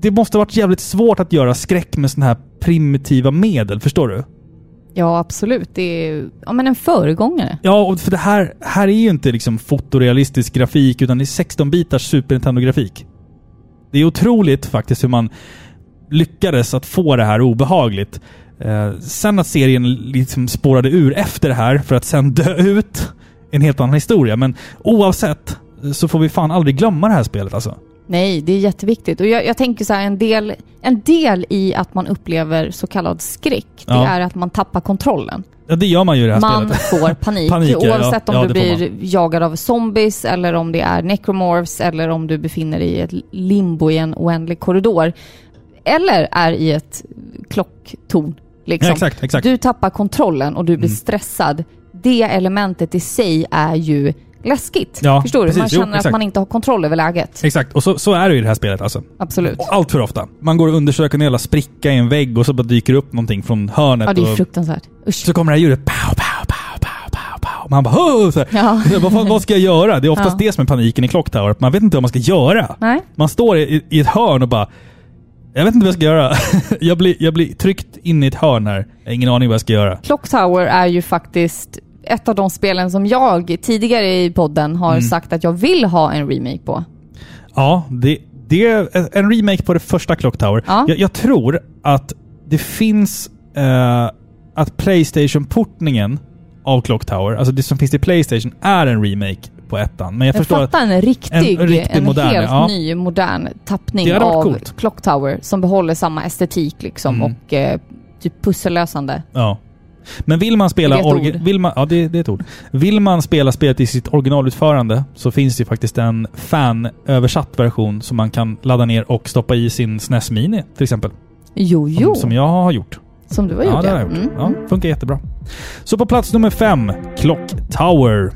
S1: det måste ha varit jävligt svårt att göra skräck med sådana här primitiva medel, förstår du?
S2: Ja, absolut. Det är ja, men en föregångare.
S1: Ja, och för det här, här är ju inte liksom fotorealistisk grafik, utan det är 16-bitars Super Nintendo-grafik. Det är otroligt faktiskt hur man lyckades att få det här obehagligt. Eh, sen att serien liksom spårade ur efter det här för att sen dö ut, är en helt annan historia. Men oavsett så får vi fan aldrig glömma det här spelet alltså.
S2: Nej, det är jätteviktigt. Och jag, jag tänker så här, en del, en del i att man upplever så kallad skräck, det
S1: Ja.
S2: är att man tappar kontrollen.
S1: Ja, det gör man ju i det här
S2: Man
S1: spelet.
S2: får panik,
S1: Panik, ja,
S2: oavsett
S1: ja.
S2: om
S1: Ja,
S2: du
S1: det får
S2: blir jagad av zombies eller om det är necromorphs eller om du befinner dig i ett limbo i en oändlig korridor. Eller är i ett klocktorn. Liksom.
S1: Ja, exakt, exakt. Mm.
S2: Du tappar kontrollen och du blir stressad. Det elementet i sig är ju läskigt.
S1: Ja,
S2: Förstår du?
S1: precis.
S2: Man
S1: Jo,
S2: känner att
S1: exakt.
S2: man inte har kontroll över läget.
S1: Exakt, och så, så är det ju i det här spelet alltså.
S2: Absolut.
S1: Och allt för ofta. Man går och undersöker en jävla spricka i en vägg och så bara dyker upp någonting från hörnet.
S2: Ja, det är
S1: och-
S2: fruktansvärt. Usch.
S1: Så kommer det här ljudet. Pow, pow, pow, pow, pow, pow. Man bara "Åh!" så här.
S2: Ja.
S1: Så Vad, fan, vad ska jag göra? Det är oftast det som är paniken i Clock Tower. att Man vet inte vad man ska göra.
S2: Nej.
S1: Man står i, i ett hörn och bara... Jag vet inte vad jag ska göra. jag, blir, jag blir tryckt in i ett hörn här. Jag har ingen aning vad jag ska göra.
S2: Clock Tower är ju faktiskt ett av de spelen som jag tidigare i podden
S1: Mm.
S2: har sagt att jag vill ha en remake på.
S1: Ja, det, det är en remake på det första Clock Tower.
S2: Ja.
S1: Jag, jag tror att det finns eh, att Playstation-portningen av Clock Tower, alltså det som finns i Playstation, är en remake på ettan. Men jag
S2: Jag
S1: förstår att...
S2: fattar en riktig,
S1: en
S2: en,
S1: riktig modern,
S2: helt
S1: ja.
S2: ny modern tappning
S1: Det hade varit
S2: av
S1: coolt.
S2: Clock Tower som behåller samma estetik liksom
S1: Mm.
S2: och eh, typ pussellösande.
S1: Ja. Men vill man spela...
S2: Det är ett
S1: orgi-
S2: ord.
S1: vill man, ja, det, det är ett ord. Vill man spela spelet i sitt originalutförande så finns det ju faktiskt en fanöversatt version som man kan ladda ner och stoppa i sin SNES Mini till exempel.
S2: Jo, jo,
S1: Som,
S2: som,
S1: som jag har gjort.
S2: du har
S1: Ja,
S2: gjort
S1: det har jag gjort.
S2: Mm.
S1: Ja, funkar jättebra. Så på plats nummer fem, Clock Tower.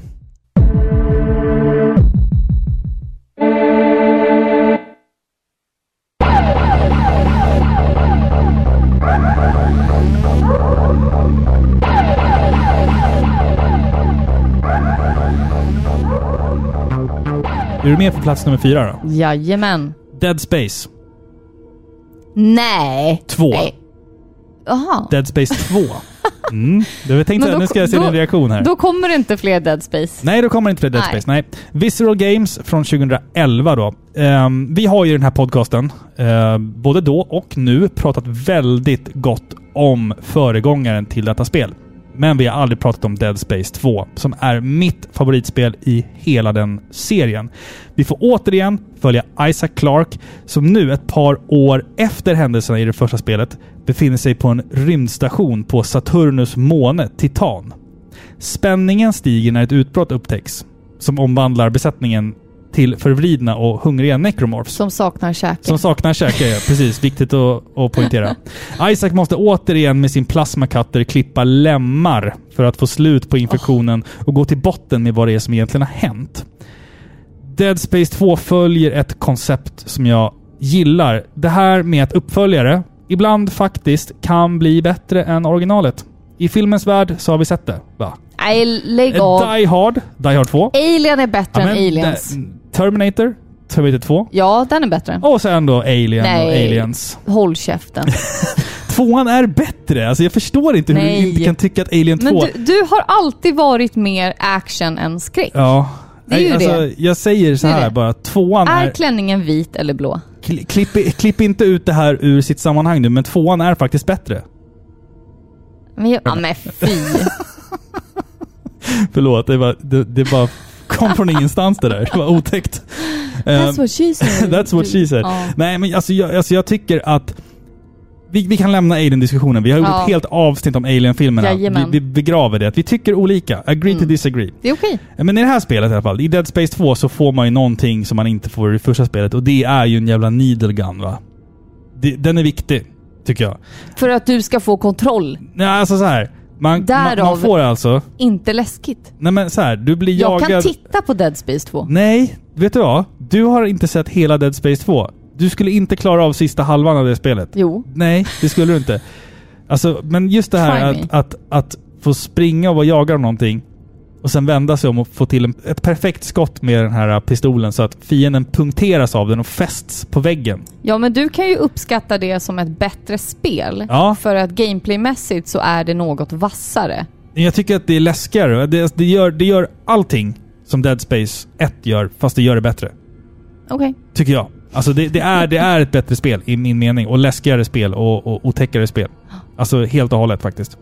S1: Är du med på plats nummer fyra då?
S2: Jajamän.
S1: Dead Space
S2: Nej.
S1: 2.
S2: Nej. Jaha.
S1: Dead Space 2. Mm. Jag tänkte
S2: Men
S1: att
S2: då-
S1: nu ska jag se
S2: då-
S1: din reaktion här.
S2: Då kommer det inte fler Dead Space.
S1: Nej, då kommer det inte Dead
S2: Nej.
S1: Space. Nej. Visceral Games från 2011 då. Ehm, vi har ju i den här podcasten, eh, både då och nu, pratat väldigt gott om föregångaren till detta spel. Men vi har aldrig pratat om Dead Space 2, som är mitt favoritspel i hela den serien. Vi får återigen följa Isaac Clarke, som nu ett par år efter händelserna i det första spelet befinner sig på en rymdstation på Saturnus måne Titan. Spänningen stiger när ett utbrott upptäcks som omvandlar besättningen till förvridna och hungriga necromorphs.
S2: Som saknar käke.
S1: Som saknar käke, ja. precis. Viktigt att, att poängtera. Isaac måste återigen med sin plasmakatter klippa lemmar för att få slut på infektionen och gå till botten med vad det är som egentligen har hänt. Dead Space 2 följer ett koncept som jag gillar. Det här med att uppföljare ibland faktiskt kan bli bättre än originalet. I filmens värld så har vi sett det, va?
S2: Nej, lägg av.
S1: Eh, Die Hard, Die Hard 2.
S2: Alien är bättre
S1: Ja,
S2: än
S1: men,
S2: Aliens.
S1: eh, Terminator, Terminator 2.
S2: Ja, den är bättre.
S1: Och sen då Alien och
S2: Nej.
S1: Aliens.
S2: Håll käften.
S1: Tvåan är bättre. Alltså jag förstår inte hur
S2: Nej.
S1: du inte kan tycka att Alien 2...
S2: Men du, du har alltid varit mer action än skräck.
S1: Ja. alltså,
S2: Det är ju det.
S1: Jag säger så
S2: Det är
S1: här
S2: det.
S1: bara. Tvåan är...
S2: Är klänningen vit eller blå?
S1: kli- klipp, i- klipp inte ut det här ur sitt sammanhang nu, men tvåan är faktiskt bättre.
S2: Men jag, ja, men fy.
S1: Förlåt, det, bara, det, det bara kom från ingenstans det där. Det var otäckt. Ehm,
S2: That's what she said.
S1: That's what she said.
S2: Ja.
S1: Nej, men alltså jag, alltså jag tycker att vi, vi kan lämna Alien-diskussionen. Vi har gjort
S2: Ja.
S1: ett helt avsnitt om Alien-filmerna. Vi,
S2: Jajamän. Mm.
S1: vi begraver det. Vi tycker olika. Agree to disagree.
S2: Det är okej.
S1: Men i det här spelet i alla fall, i Dead Space 2 så får man ju någonting som man inte får i det första spelet. Och det är ju en jävla needle gun va? Det, den är viktig, tycker jag.
S2: För att du ska få kontroll.
S1: Nej, alltså så här. Man, man, man
S2: Därav-
S1: får alltså...
S2: Inte läskigt.
S1: Nej men så här, du blir
S2: Jag
S1: jagad... Mm.
S2: kan titta på Dead Space 2.
S1: Nej, vet du vad? Du har inte sett hela Dead Space 2. Du skulle inte klara av sista halvan av det spelet.
S2: Jo.
S1: Nej, det skulle du inte. Alltså, men just det här
S2: Try
S1: att,
S2: me.
S1: att, att få springa och vara jagad av någonting och sen vända sig om och få till en, ett perfekt skott med den här pistolen så att fienden punkteras av den och fästs på väggen.
S2: Ja, men du kan ju uppskatta det som ett bättre spel.
S1: Ja.
S2: För att gameplaymässigt så är det något vassare.
S1: Jag tycker att det är läskigare. Det, det, gör, det gör allting som Dead Space 1 gör, fast det gör det bättre.
S2: Okej.
S1: Tycker jag. Alltså det, det, är, det är ett bättre spel i min mening. Och läskigare spel och, och otäckare spel. Alltså helt och hållet faktiskt.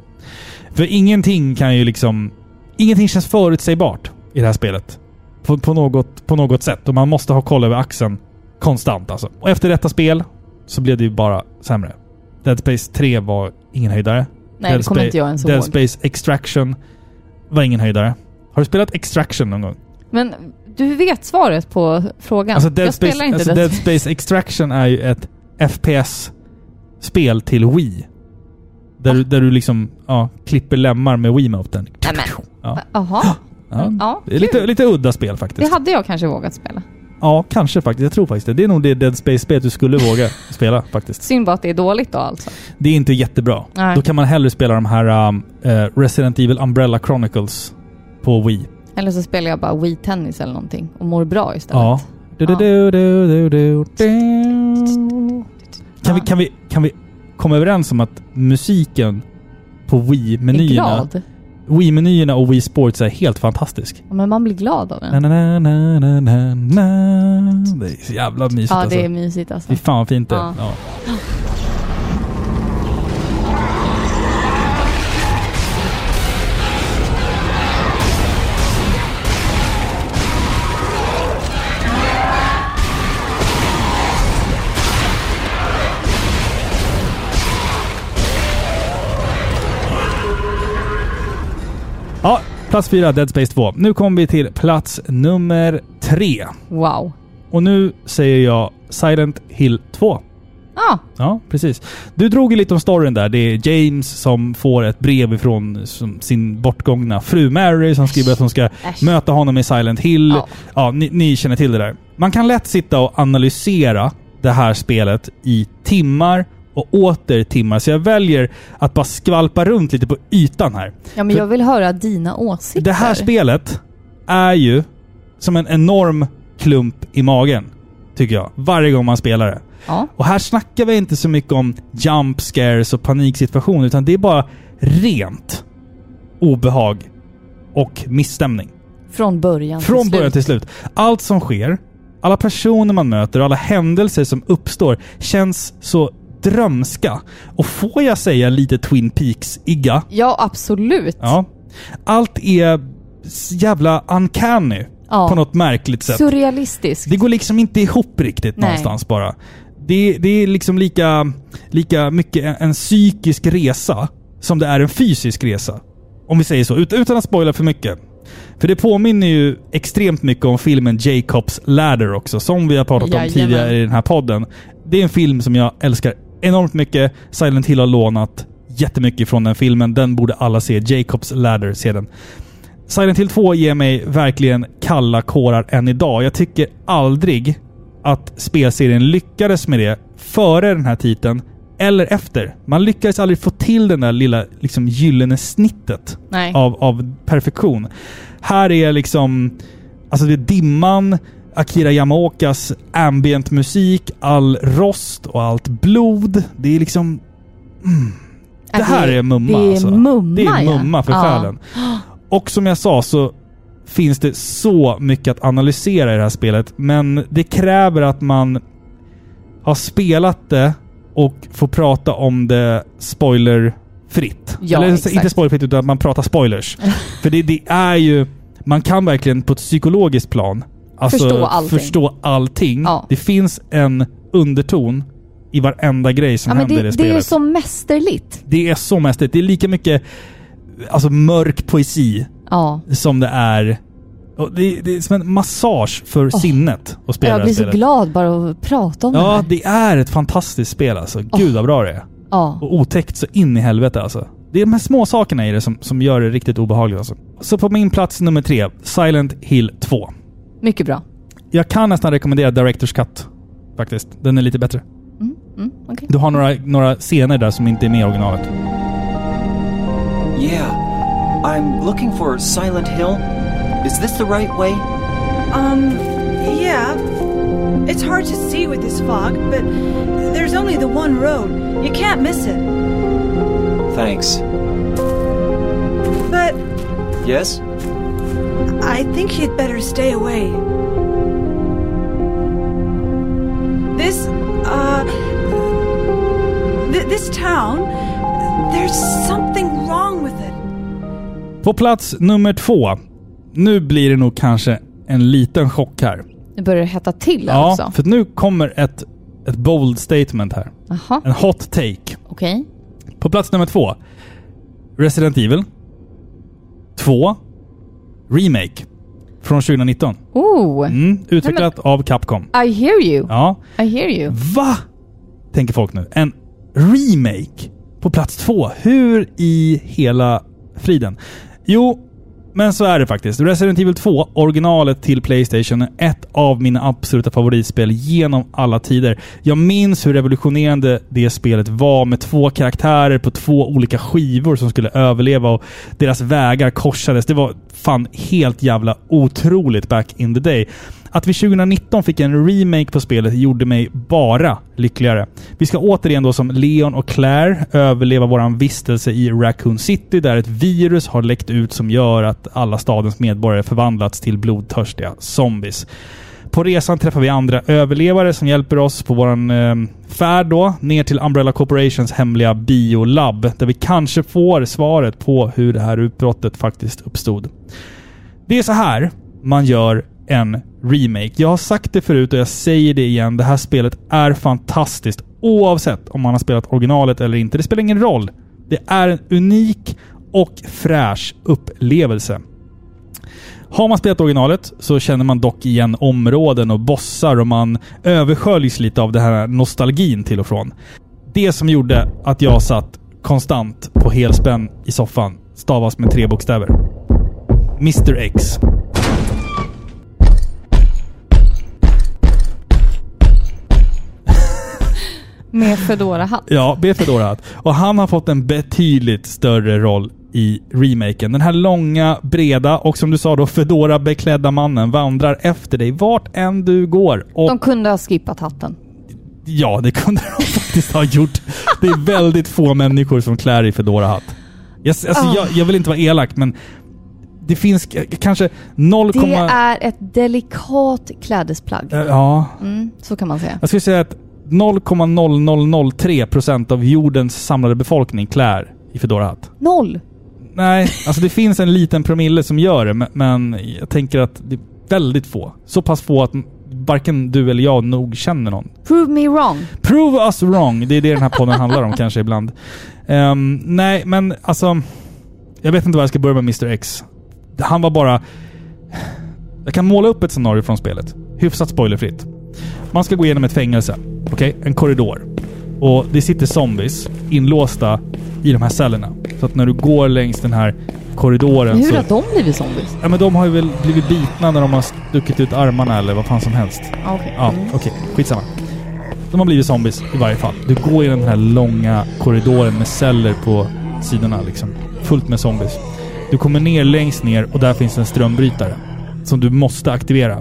S1: För ingenting kan ju liksom... Ingenting känns förutsägbart i det här spelet. På, på, något, på något sätt. Och man måste ha koll över axeln konstant alltså. Och efter detta spel så blev det ju bara sämre. Dead Space 3 var ingen höjdare.
S2: Nej, det kommer
S1: Spa-
S2: inte jag ens
S1: Dead
S2: ihåg.
S1: Space Extraction var ingen höjdare. Har du spelat Extraction någon gång?
S2: Men du vet svaret på frågan.
S1: Alltså Dead
S2: jag
S1: Space,
S2: spelar inte
S1: alltså
S2: Dead
S1: Dead Space Extraction är ju ett FPS-spel till Wii. Där,
S2: Ah.
S1: du, där du liksom ja, klipper lemmar med Wiimoten.
S2: Nej, men.
S1: Ja.
S2: Jaha.
S1: Ja,
S2: Ja,
S1: det är lite,
S2: kul.
S1: lite udda spel
S2: Det
S1: faktiskt.
S2: hade jag kanske vågat spela.
S1: Ja, kanske faktiskt. Jag tror faktiskt det. Det är nog det Dead Space-spelet du skulle våga spela faktiskt.
S2: Synd bara att det är dåligt då alltså.
S1: Det är inte jättebra.
S2: Nej.
S1: Då kan man hellre spela de här um, eh, Resident Evil Umbrella Chronicles på Wii.
S2: Eller så spelar jag bara Wii Tennis eller någonting och mår bra istället.
S1: Ja. Du, du, du, du, du, du, du. Kan, vi,
S2: Ja.
S1: kan, vi, kan vi komma överens om att musiken på
S2: Är
S1: Wii-menyerna
S2: glad.
S1: Wii-menyerna och Wii Sports är helt fantastisk.
S2: Ja, men man blir glad av den.
S1: Na, na, na, na, na, na, na. Det är så jävla mysigt
S2: ja,
S1: alltså.
S2: det är mysigt alltså.
S1: Fy fan vad fint det är.
S2: Ja.
S1: Ja. Ja, plats fyra, Dead Space 2. Nu kommer vi till plats nummer tre.
S2: Wow.
S1: Och nu säger jag Silent Hill 2.
S2: Ja,
S1: Ja, precis. Du drog ju lite om storyn där. Det är James som får ett brev ifrån som, sin bortgångna fru Mary som skriver att hon ska
S2: Äsch.
S1: möta honom i Silent Hill. Ja,
S2: Ja.
S1: ni, ni känner till det där. Man kan lätt sitta och analysera det här spelet i timmar och åter timmar. Så jag väljer att bara skvalpa runt lite på ytan här.
S2: ja men jag vill höra dina åsikter.
S1: Det här spelet är ju som en enorm klump i magen, tycker jag. Varje gång man spelar det.
S2: Ja.
S1: Och här snackar vi inte så mycket om jump scares och paniksituationer, utan det är bara rent obehag och misstämning.
S2: Från början
S1: Från
S2: till
S1: början
S2: slut.
S1: till slut. Allt som sker, alla personer man möter och alla händelser som uppstår känns så drömska. Och får jag säga lite Twin Peaks-igga?
S2: Ja, absolut.
S1: Ja. Allt är s- jävla uncanny
S2: Ja.
S1: på något märkligt sätt.
S2: Surrealistisk.
S1: Det går liksom inte ihop riktigt
S2: Nej.
S1: någonstans bara. Det, det är liksom lika, lika mycket en, en psykisk resa som det är en fysisk resa. Om vi säger så, ut, utan att spoila för mycket. För det påminner ju extremt mycket om filmen Jacob's Ladder också, som vi har pratat om
S2: Jajamän.
S1: tidigare i den här podden. Det är en film som jag älskar enormt mycket. Silent Hill har lånat jättemycket från den filmen. Den borde alla se. Jacob's Ladder, se den. Silent Hill 2 ger mig verkligen kalla kårar än idag. Jag tycker aldrig att spelserien lyckades med det före den här titeln eller efter. Man lyckades aldrig få till den där lilla liksom, gyllene snittet
S2: Nej.
S1: av, av perfektion. Här är liksom... Alltså det är dimman, Akira Yamaokas ambient musik, all rost och allt blod. Det är liksom... Det här är mumma
S2: Äh, Det är
S1: alltså.
S2: mumma,
S1: Det är mumma
S2: ja.
S1: för
S2: Ja.
S1: själen. Och som jag sa så finns det så mycket att analysera i det här spelet. Men det kräver att man har spelat det och får prata om det spoilerfritt.
S2: Ja,
S1: Eller
S2: exakt.
S1: inte spoilerfritt, utan att man pratar spoilers. För det, det är ju... Man kan verkligen på ett psykologiskt plan alltså,
S2: Förstå allting.
S1: förstå allting.
S2: Ja.
S1: Det finns en underton i varenda grej som
S2: Ja, men
S1: händer
S2: det,
S1: i det
S2: det,
S1: spelet.
S2: är ju så mästerligt.
S1: Det är så mästerligt. Det är lika mycket alltså, mörk poesi
S2: Ja.
S1: som det är... Och det, det är som en massage för sinnet att spela
S2: Jag
S1: det här
S2: blir så
S1: spelet.
S2: glad bara att prata om det
S1: Ja,
S2: här.
S1: det är ett fantastiskt spel alltså. Gud vad bra det är.
S2: Ja.
S1: Och otäckt så in i helvete alltså. Det är de här små sakerna i det som, som gör det riktigt obehagligt alltså. Så på min plats nummer tre, Silent Hill 2.
S2: Mycket bra.
S1: Jag kan nästan rekommendera Directors Cut faktiskt. Den är lite bättre.
S2: Mm, okej.
S1: Du har några, några scener där som inte är med i originalet.
S11: Yeah, I'm looking for Silent Hill. Is this the right way?
S7: Um, yeah. It's hard to see with this fog, but there's only the one road. You can't miss it.
S11: Thanks.
S7: But
S11: Yes?
S7: I think you'd better stay away. This, uh. Th- this town, there's something wrong with it.
S1: På plats nummer två. Nu blir det nog kanske en liten chock här.
S2: Nu börjar det hetta till här
S1: Ja,
S2: också.
S1: för att nu kommer ett, ett bold statement här.
S2: Jaha,
S1: En hot take.
S2: okej.
S1: På plats nummer två. Resident Evil 2 Remake från 2019.
S2: Oh!
S1: Mm, utvecklat av Capcom.
S2: I hear you.
S1: Ja.
S2: I hear you.
S1: Va? Tänker folk nu. En remake på plats två. Hur i hela friden? Jo, men så är det faktiskt. Resident Evil 2, originalet till Playstation, är ett av mina absoluta favoritspel genom alla tider. Jag minns hur revolutionerande det spelet var med två karaktärer på två olika skivor som skulle överleva och deras vägar korsades. Det var fan helt jävla otroligt back in the day. Att vi 2019 fick en remake på spelet gjorde mig bara lyckligare. Vi ska återigen då som Leon och Claire överleva våran vistelse i Raccoon City där ett virus har läckt ut som gör att alla stadens medborgare förvandlats till blodtörstiga zombies. På resan träffar vi andra överlevare som hjälper oss på våran eh, färd då ner till Umbrella Corporations hemliga biolabb där vi kanske får svaret på hur det här utbrottet faktiskt uppstod. Det är så här man gör en remake. Jag har sagt det förut och jag säger det igen. Det här spelet är fantastiskt oavsett om man har spelat originalet eller inte. Det spelar ingen roll. Det är en unik och fräsch upplevelse. Har man spelat originalet så känner man dock igen områden och bossar och man översköljs lite av den här nostalgin till och från. Det som gjorde att jag satt konstant på helspänn i soffan stavas med tre bokstäver. Mr X.
S2: Med Fedora-hatt.
S1: Ja, B. Fedorat. Och han har fått en betydligt större roll i remaken. Den här långa, breda och som du sa då fedora beklädda mannen vandrar efter dig vart än du går. Och
S2: De kunde ha skippat hatten.
S1: ja, det kunde de faktiskt ha gjort. Det är väldigt få människor som klär i fedora hatt Jag, alltså,
S2: Ah.
S1: jag, jag vill inte vara elak, men det finns k- kanske 0,
S2: Det är ett delikat klädesplagg.
S1: Eh, ja.
S2: Mm, så kan man säga.
S1: Jag skulle säga att 0,0003 procent av jordens samlade befolkning klär i Fedora-hatt.
S2: Noll.
S1: Nej, alltså det finns en liten promille som gör det, men- men jag tänker att det är väldigt få. Så pass få att varken du eller jag nog känner någon.
S2: Prove me wrong.
S1: Prove us wrong. Det är det den här podden handlar om kanske ibland. Ehm, nej, men alltså... Jag vet inte var jag ska börja med Mr X. Han var bara... Jag kan måla upp ett scenario från spelet. Hyfsat spoilerfritt. Man ska gå igenom ett fängelse. Okej? En korridor. Och det sitter zombies inlåsta i de här cellerna. Så att när du går längs den här korridoren
S2: Hur
S1: så...
S2: har de blivit zombies?
S1: Ja men de har ju väl blivit bitna när de har stuckit ut armarna eller vad fan som helst.
S2: Ah, okej.
S1: Ja,
S2: Mm.
S1: okej. Skitsamma. De har blivit zombies i varje fall. Du går genom den här långa korridoren med celler på sidorna liksom. Fullt med zombies. Du kommer ner längst ner och där finns en strömbrytare. Som du måste aktivera.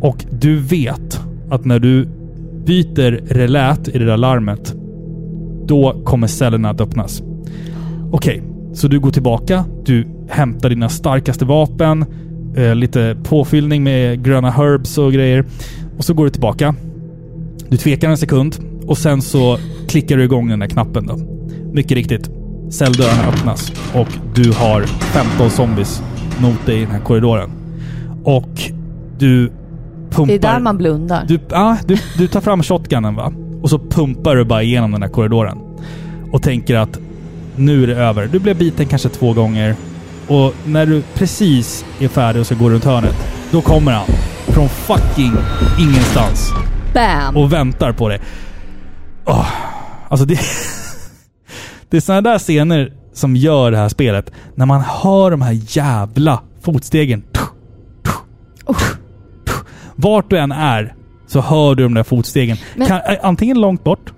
S1: Och du vet att när du byter relät i det där larmet. Då kommer cellerna att öppnas. Okej, så du går tillbaka. Du hämtar dina starkaste vapen. Eh, lite påfyllning med gröna herbs och grejer. Och så går du tillbaka. Du tvekar en sekund och sen så klickar du igång den där knappen då. Mycket riktigt. Celldörrarna öppnas och du har 15 zombies mot dig i den här korridoren. Och du pumpar...
S2: Det är där man blundar.
S1: Du, ja, du, du tar fram shotgunen va? Och så pumpar du bara igenom den här korridoren. Och tänker att nu är det över. Du blev biten kanske två gånger. Och när du precis är färdig och ska gå runt hörnet, då kommer han. Från fucking ingenstans.
S2: Bam!
S1: Och väntar på dig. Åh, alltså det... det är sådana där scener som gör det här spelet. När man hör de här jävla fotstegen. Vart du än är så hör du de där fotstegen.
S2: Men-
S1: Kan, eh, antingen långt bort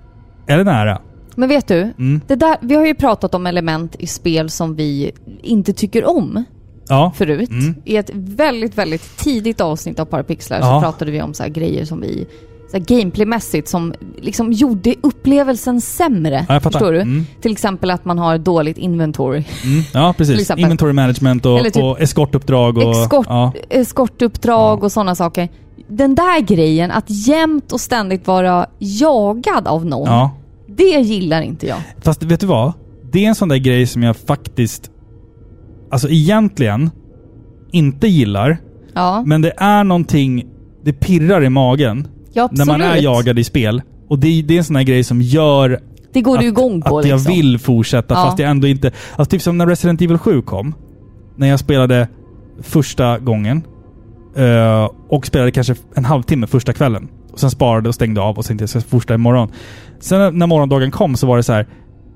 S1: eller nära.
S2: Men vet du?
S1: Mm.
S2: Det där, vi har ju pratat om element i spel som vi inte tycker om.
S1: Ja.
S2: förut.
S1: Mm.
S2: I ett väldigt, väldigt tidigt avsnitt av Parapixlar
S1: Ja.
S2: så pratade vi om så här grejer som vi så här gameplaymässigt som liksom gjorde upplevelsen sämre.
S1: Ja, jag fattar.
S2: förstår du?
S1: Mm.
S2: Till exempel att man har dåligt inventory.
S1: Mm. Ja,
S2: Till
S1: precis.
S2: exempel.
S1: Inventory management och,
S2: Eller typ-
S1: och eskortuppdrag. Och,
S2: Escort,
S1: ja.
S2: Eskortuppdrag eh, och sådana saker. Den där grejen, att jämt och ständigt vara jagad av någon.
S1: Ja.
S2: Det gillar inte jag.
S1: Fast vet du vad? Det är en sån där grej som jag faktiskt... Alltså egentligen inte gillar.
S2: Ja.
S1: Men det är någonting... Det pirrar i magen.
S2: Ja,
S1: när man är
S2: absolut.
S1: jagad i spel. Och det, är- det är en sån där grej som gör
S2: Det går
S1: att,
S2: du igång på
S1: att jag
S2: liksom.
S1: vill fortsätta
S2: Ja.
S1: fast jag ändå inte... Alltså typ som när Resident Evil 7 kom. När jag spelade första gången. eh, och spelade kanske en halvtimme första kvällen. Och sen sparade och stängde av och tänkte jag ska fortsätta imorgon. Sen när morgondagen kom så var det så här.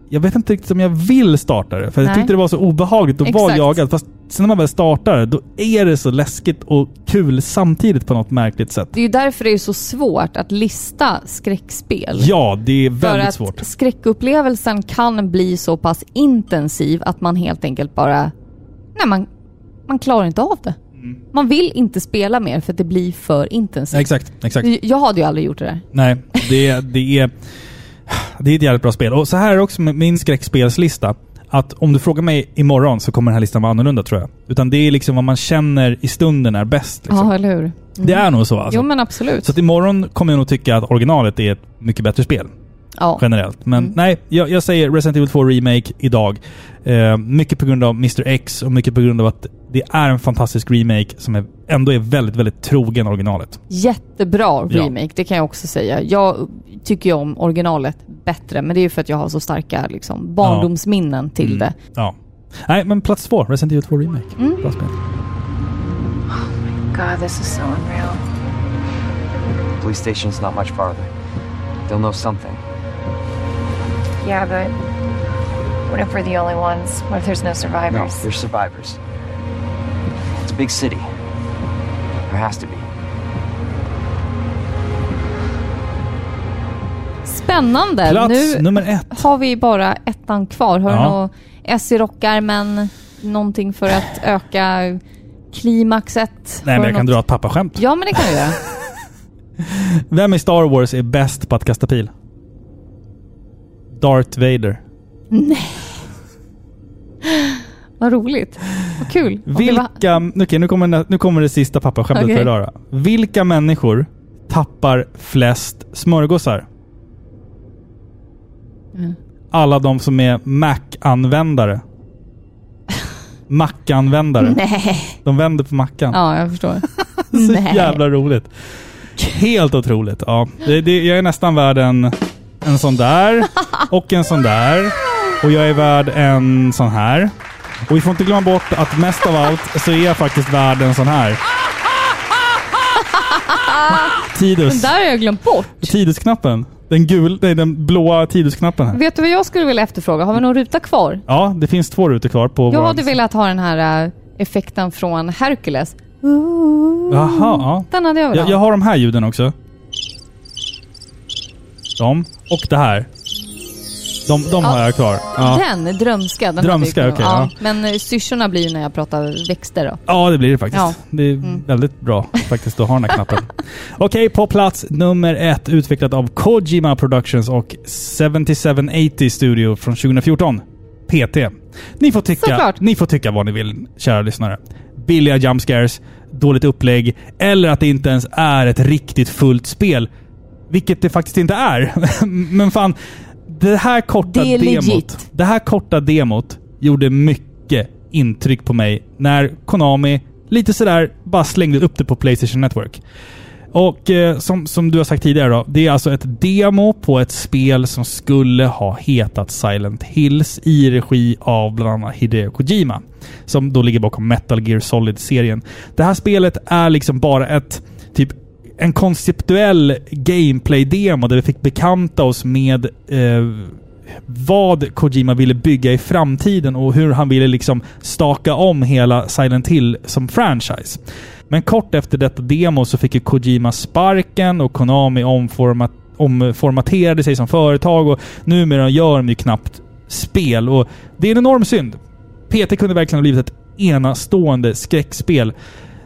S1: Jag vet inte riktigt om jag vill starta det. För jag
S2: Nej.
S1: tyckte det var så obehagligt att vara
S2: Exakt.
S1: jagad. Fast sen när man väl startar det, då är det så läskigt och kul samtidigt på något märkligt sätt.
S2: Det är ju därför det är så svårt att lista skräckspel.
S1: Ja, det är
S2: För
S1: väldigt
S2: att
S1: svårt.
S2: skräckupplevelsen kan bli så pass intensiv att man helt enkelt bara... Nej, man, man klarar inte av det.
S1: Mm.
S2: Man vill inte spela mer för att det blir för intensivt.
S1: Exakt, exakt.
S2: Jag hade ju aldrig gjort det där.
S1: Nej, det, det är... Det är ett jävligt bra spel. Och så här är det också med min skräckspelslista. Att om du frågar mig imorgon så kommer den här listan vara annorlunda tror jag. Utan det är liksom vad man känner i stunden är bäst. Liksom.
S2: Ja, eller hur? Mm.
S1: Det är nog så alltså.
S2: Jo, men absolut.
S1: Så att imorgon kommer jag nog tycka att originalet är ett mycket bättre spel.
S2: Ja.
S1: Generellt. Men
S2: Mm.
S1: nej, jag, jag säger Resident Evil 2 Remake idag. Eh, mycket på grund av Mr X och mycket på grund av att det är en fantastisk remake som är, ändå är väldigt, väldigt trogen originalet.
S2: Jättebra
S1: Ja.
S2: remake, det kan jag också säga. Jag tycker ju om originalet bättre, men det är ju för att jag har så starka liksom, barndomsminnen till
S1: Mm.
S2: det.
S1: Ja. Nej, men plats två. Resident Evil 2 Remake.
S2: Mm.
S1: Bra spel.
S12: God, this is so unreal.
S11: The police station's not much farther. They'll know something.
S12: Yeah, but what if we're the only ones? What if there's no survivors?
S11: No, they're survivors. It's a big city. There has to be.
S2: Spännande!
S1: Plats
S2: Eh, nu
S1: nummer ett.
S2: har vi bara ettan kvar. Har
S1: Ja.
S2: du något S i rockärmen? Någonting för att öka klimaxet?
S1: Nej,
S2: Har
S1: men
S2: du
S1: jag kan
S2: något?
S1: dra ett pappaskämt.
S2: Ja, men det kan du göra.
S1: Vem i Star Wars är bäst på att kasta pil? Darth Vader.
S2: Nej. Vad roligt. Vad kul. Och det var-
S1: Vilka... Okej, nu, kommer, nä- nu kommer det sista pappaskämtet
S2: Okej.
S1: för idag då. Vilka människor tappar flest smörgåsar?
S2: Mm.
S1: Alla de som är Mac-användare. Mac-användare.
S2: Nej.
S1: De vänder på mackan.
S2: Ja, jag förstår.
S1: Så
S2: Nej.
S1: jävla roligt. Helt otroligt. Ja. Det, det, jag är nästan värd en, en sån där och en sån där. Och jag är värd en sån här. Och vi får inte glömma bort att mest av allt så är jag faktiskt värd en sån här.
S2: Den
S1: Tidus.
S2: där har jag glömt bort.
S1: Tidusknappen. Den, gul, nej, den blåa Tidusknappen här.
S2: Vet du vad jag skulle vilja efterfråga? Har vi någon ruta kvar?
S1: Ja, det finns två rutor kvar på
S2: Jag
S1: våran-
S2: hade velat ha den här äh, effekten från Hercules.
S1: Jaha, ja.
S2: Den hade jag velat
S1: jag,
S2: ha.
S1: jag har de här ljuden också. De. Och det här. De, de har
S2: Ja.
S1: jag kvar. Ja.
S2: Den, drömska. Den
S1: Drömska,
S2: hade jag kunnat-
S1: okej, ja.
S2: Men eh, syrsorna blir ju när jag pratar växter då.
S1: Ja, det blir det faktiskt.
S2: Ja. Mm.
S1: Det är väldigt bra faktiskt att ha den här knappen. Okej, på plats nummer ett, utvecklat av Kojima Productions och 7780 Studio från 2014. PT. Ni får, tycka,
S2: Såklart.
S1: ni får tycka vad ni vill, kära lyssnare. Billiga jump scares, dåligt upplägg, eller att det inte ens är ett riktigt fullt spel. Vilket det faktiskt inte är. Men fan, det här korta
S2: Det är legit.
S1: demot. Det här korta demot gjorde mycket intryck på mig när Konami lite sådär bara slängde upp det på Playstation Network. Och eh, som, som du har sagt tidigare då, det är alltså ett demo på ett spel som skulle ha hetat Silent Hills i regi av bland annat Hideo Kojima. Som då ligger bakom Metal Gear Solid-serien. Det här spelet är liksom bara ett typ en konceptuell gameplay-demo där vi fick bekanta oss med eh, vad Kojima ville bygga i framtiden och hur han ville liksom staka om hela Silent Hill som franchise. Men kort efter detta demo så fick ju Kojima sparken och Konami omformat, omformaterade sig som företag och numera gör de ju knappt spel och det är en enorm synd. PT kunde verkligen ha blivit ett enastående skräckspel.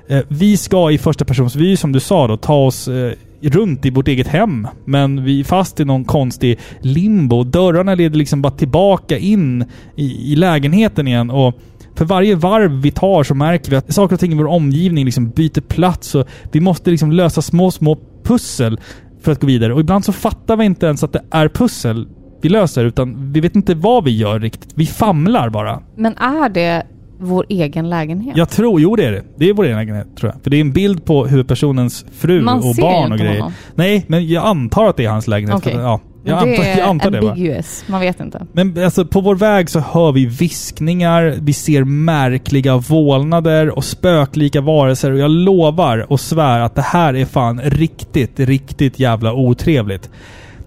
S1: Eh, Vi ska i första persons vy, som du sa, då, ta oss eh, runt i vårt eget hem. Men vi är fast i någon konstig limbo. Dörrarna leder liksom bara tillbaka in i, i lägenheten igen. Och för varje varv vi tar så märker vi att saker och ting i vår omgivning liksom byter plats. Och vi måste liksom lösa små, små pussel för att gå vidare. Och ibland så fattar vi inte ens att det är pussel vi löser, utan vi vet inte vad vi gör riktigt. Vi famlar bara.
S2: Men är det vår egen lägenhet?
S1: Jag tror, jo det är det. Det är vår egen lägenhet tror jag. För det är en bild på huvudpersonens fru
S2: Man
S1: och
S2: ser
S1: barn
S2: inte
S1: och grejer.
S2: honom.
S1: Nej, men jag antar att det är hans lägenhet.
S2: Okej.
S1: För att- Ja, jag
S2: Men det
S1: antar, jag antar det.
S2: är
S1: Va?
S2: ambiguous. Man vet inte.
S1: Men alltså, på vår väg så hör vi viskningar, vi ser märkliga vålnader och spöklika varelser och jag lovar och svär att det här är fan riktigt, riktigt jävla otrevligt.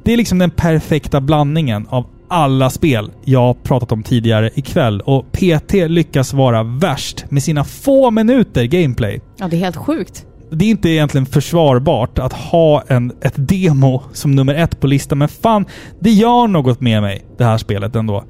S1: Det är liksom den perfekta blandningen av alla spel jag har pratat om tidigare ikväll och PT lyckas vara värst med sina få minuter gameplay
S2: Ja, det är helt sjukt.
S1: det är inte egentligen försvarbart att ha en, ett demo som nummer ett på listan, men fan, det gör något med mig, det här spelet ändå.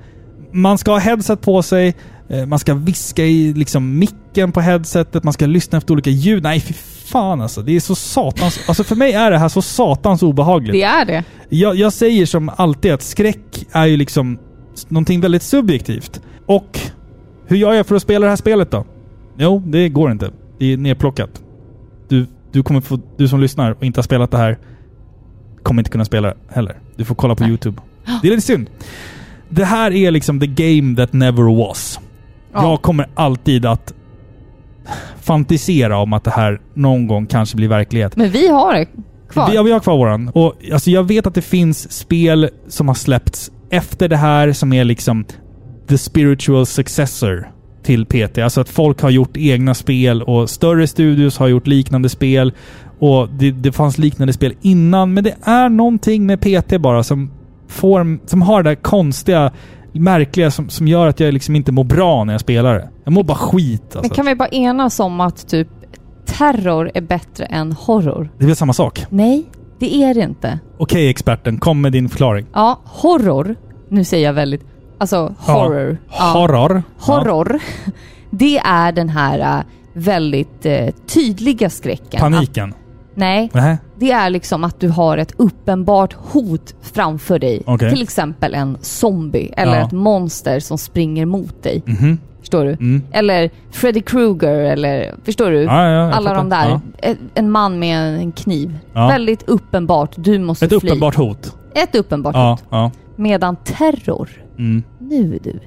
S1: Man ska ha headset på sig, eh, man ska viska i liksom micken på headsetet, man ska lyssna efter olika ljud. Nej, fy fan alltså. Det är så satans... Alltså för mig är det här så satans obehagligt.
S2: Det är det.
S1: Jag, jag säger som alltid att skräck är ju liksom s- någonting väldigt subjektivt. Och hur gör jag för att spela det här spelet då? Jo, det går inte. Det är nerplockat. Du, du, kommer få, du som lyssnar och inte har spelat det här kommer inte kunna spela det heller. Du får kolla på YouTube. Det är lite synd. Det här är liksom the game that never was. Jag kommer alltid att fantisera om att det här någon gång kanske blir verklighet.
S2: Men vi har det kvar.
S1: Vi, ja, vi har kvar våran. Och, alltså, jag vet att det finns spel som har släppts efter det här som är liksom the spiritual successor till PT. Alltså att folk har gjort egna spel och större studios har gjort liknande spel. Och det, det fanns liknande spel innan, men det är någonting med PT bara som, får, som har det där konstiga, märkliga som, som gör att jag liksom inte mår bra när jag spelar det. Jag mår bara skit
S2: Men
S1: alltså.
S2: kan vi bara enas om att typ terror är bättre än horror?
S1: Det är väl samma sak?
S2: Nej, det är det inte.
S1: Okej experten, kom med din förklaring.
S2: Ja, horror. Nu säger jag väldigt... Alltså horror.
S1: Ja. Horror.
S2: Horror. Det är den här äh, väldigt eh, tydliga skräcken.
S1: Paniken.
S2: Att, nej,
S1: Nähä.
S2: det är liksom att du har ett uppenbart hot framför dig.
S1: Okej.
S2: Till exempel en zombie eller
S1: Ja.
S2: ett monster som springer mot dig.
S1: Mhm.
S2: Förstår du? Eller Freddy Krueger eller... Förstår du?
S1: Ja, ja, jag
S2: Alla de
S1: fattar.
S2: där.
S1: Ja.
S2: Ett- En man med en kniv.
S1: Ja.
S2: Väldigt uppenbart. Du måste
S1: Ett
S2: fly.
S1: uppenbart hot.
S2: Ett uppenbart
S1: Ja,
S2: hot.
S1: ja.
S2: Medan terror,
S1: Mm.
S2: nu du.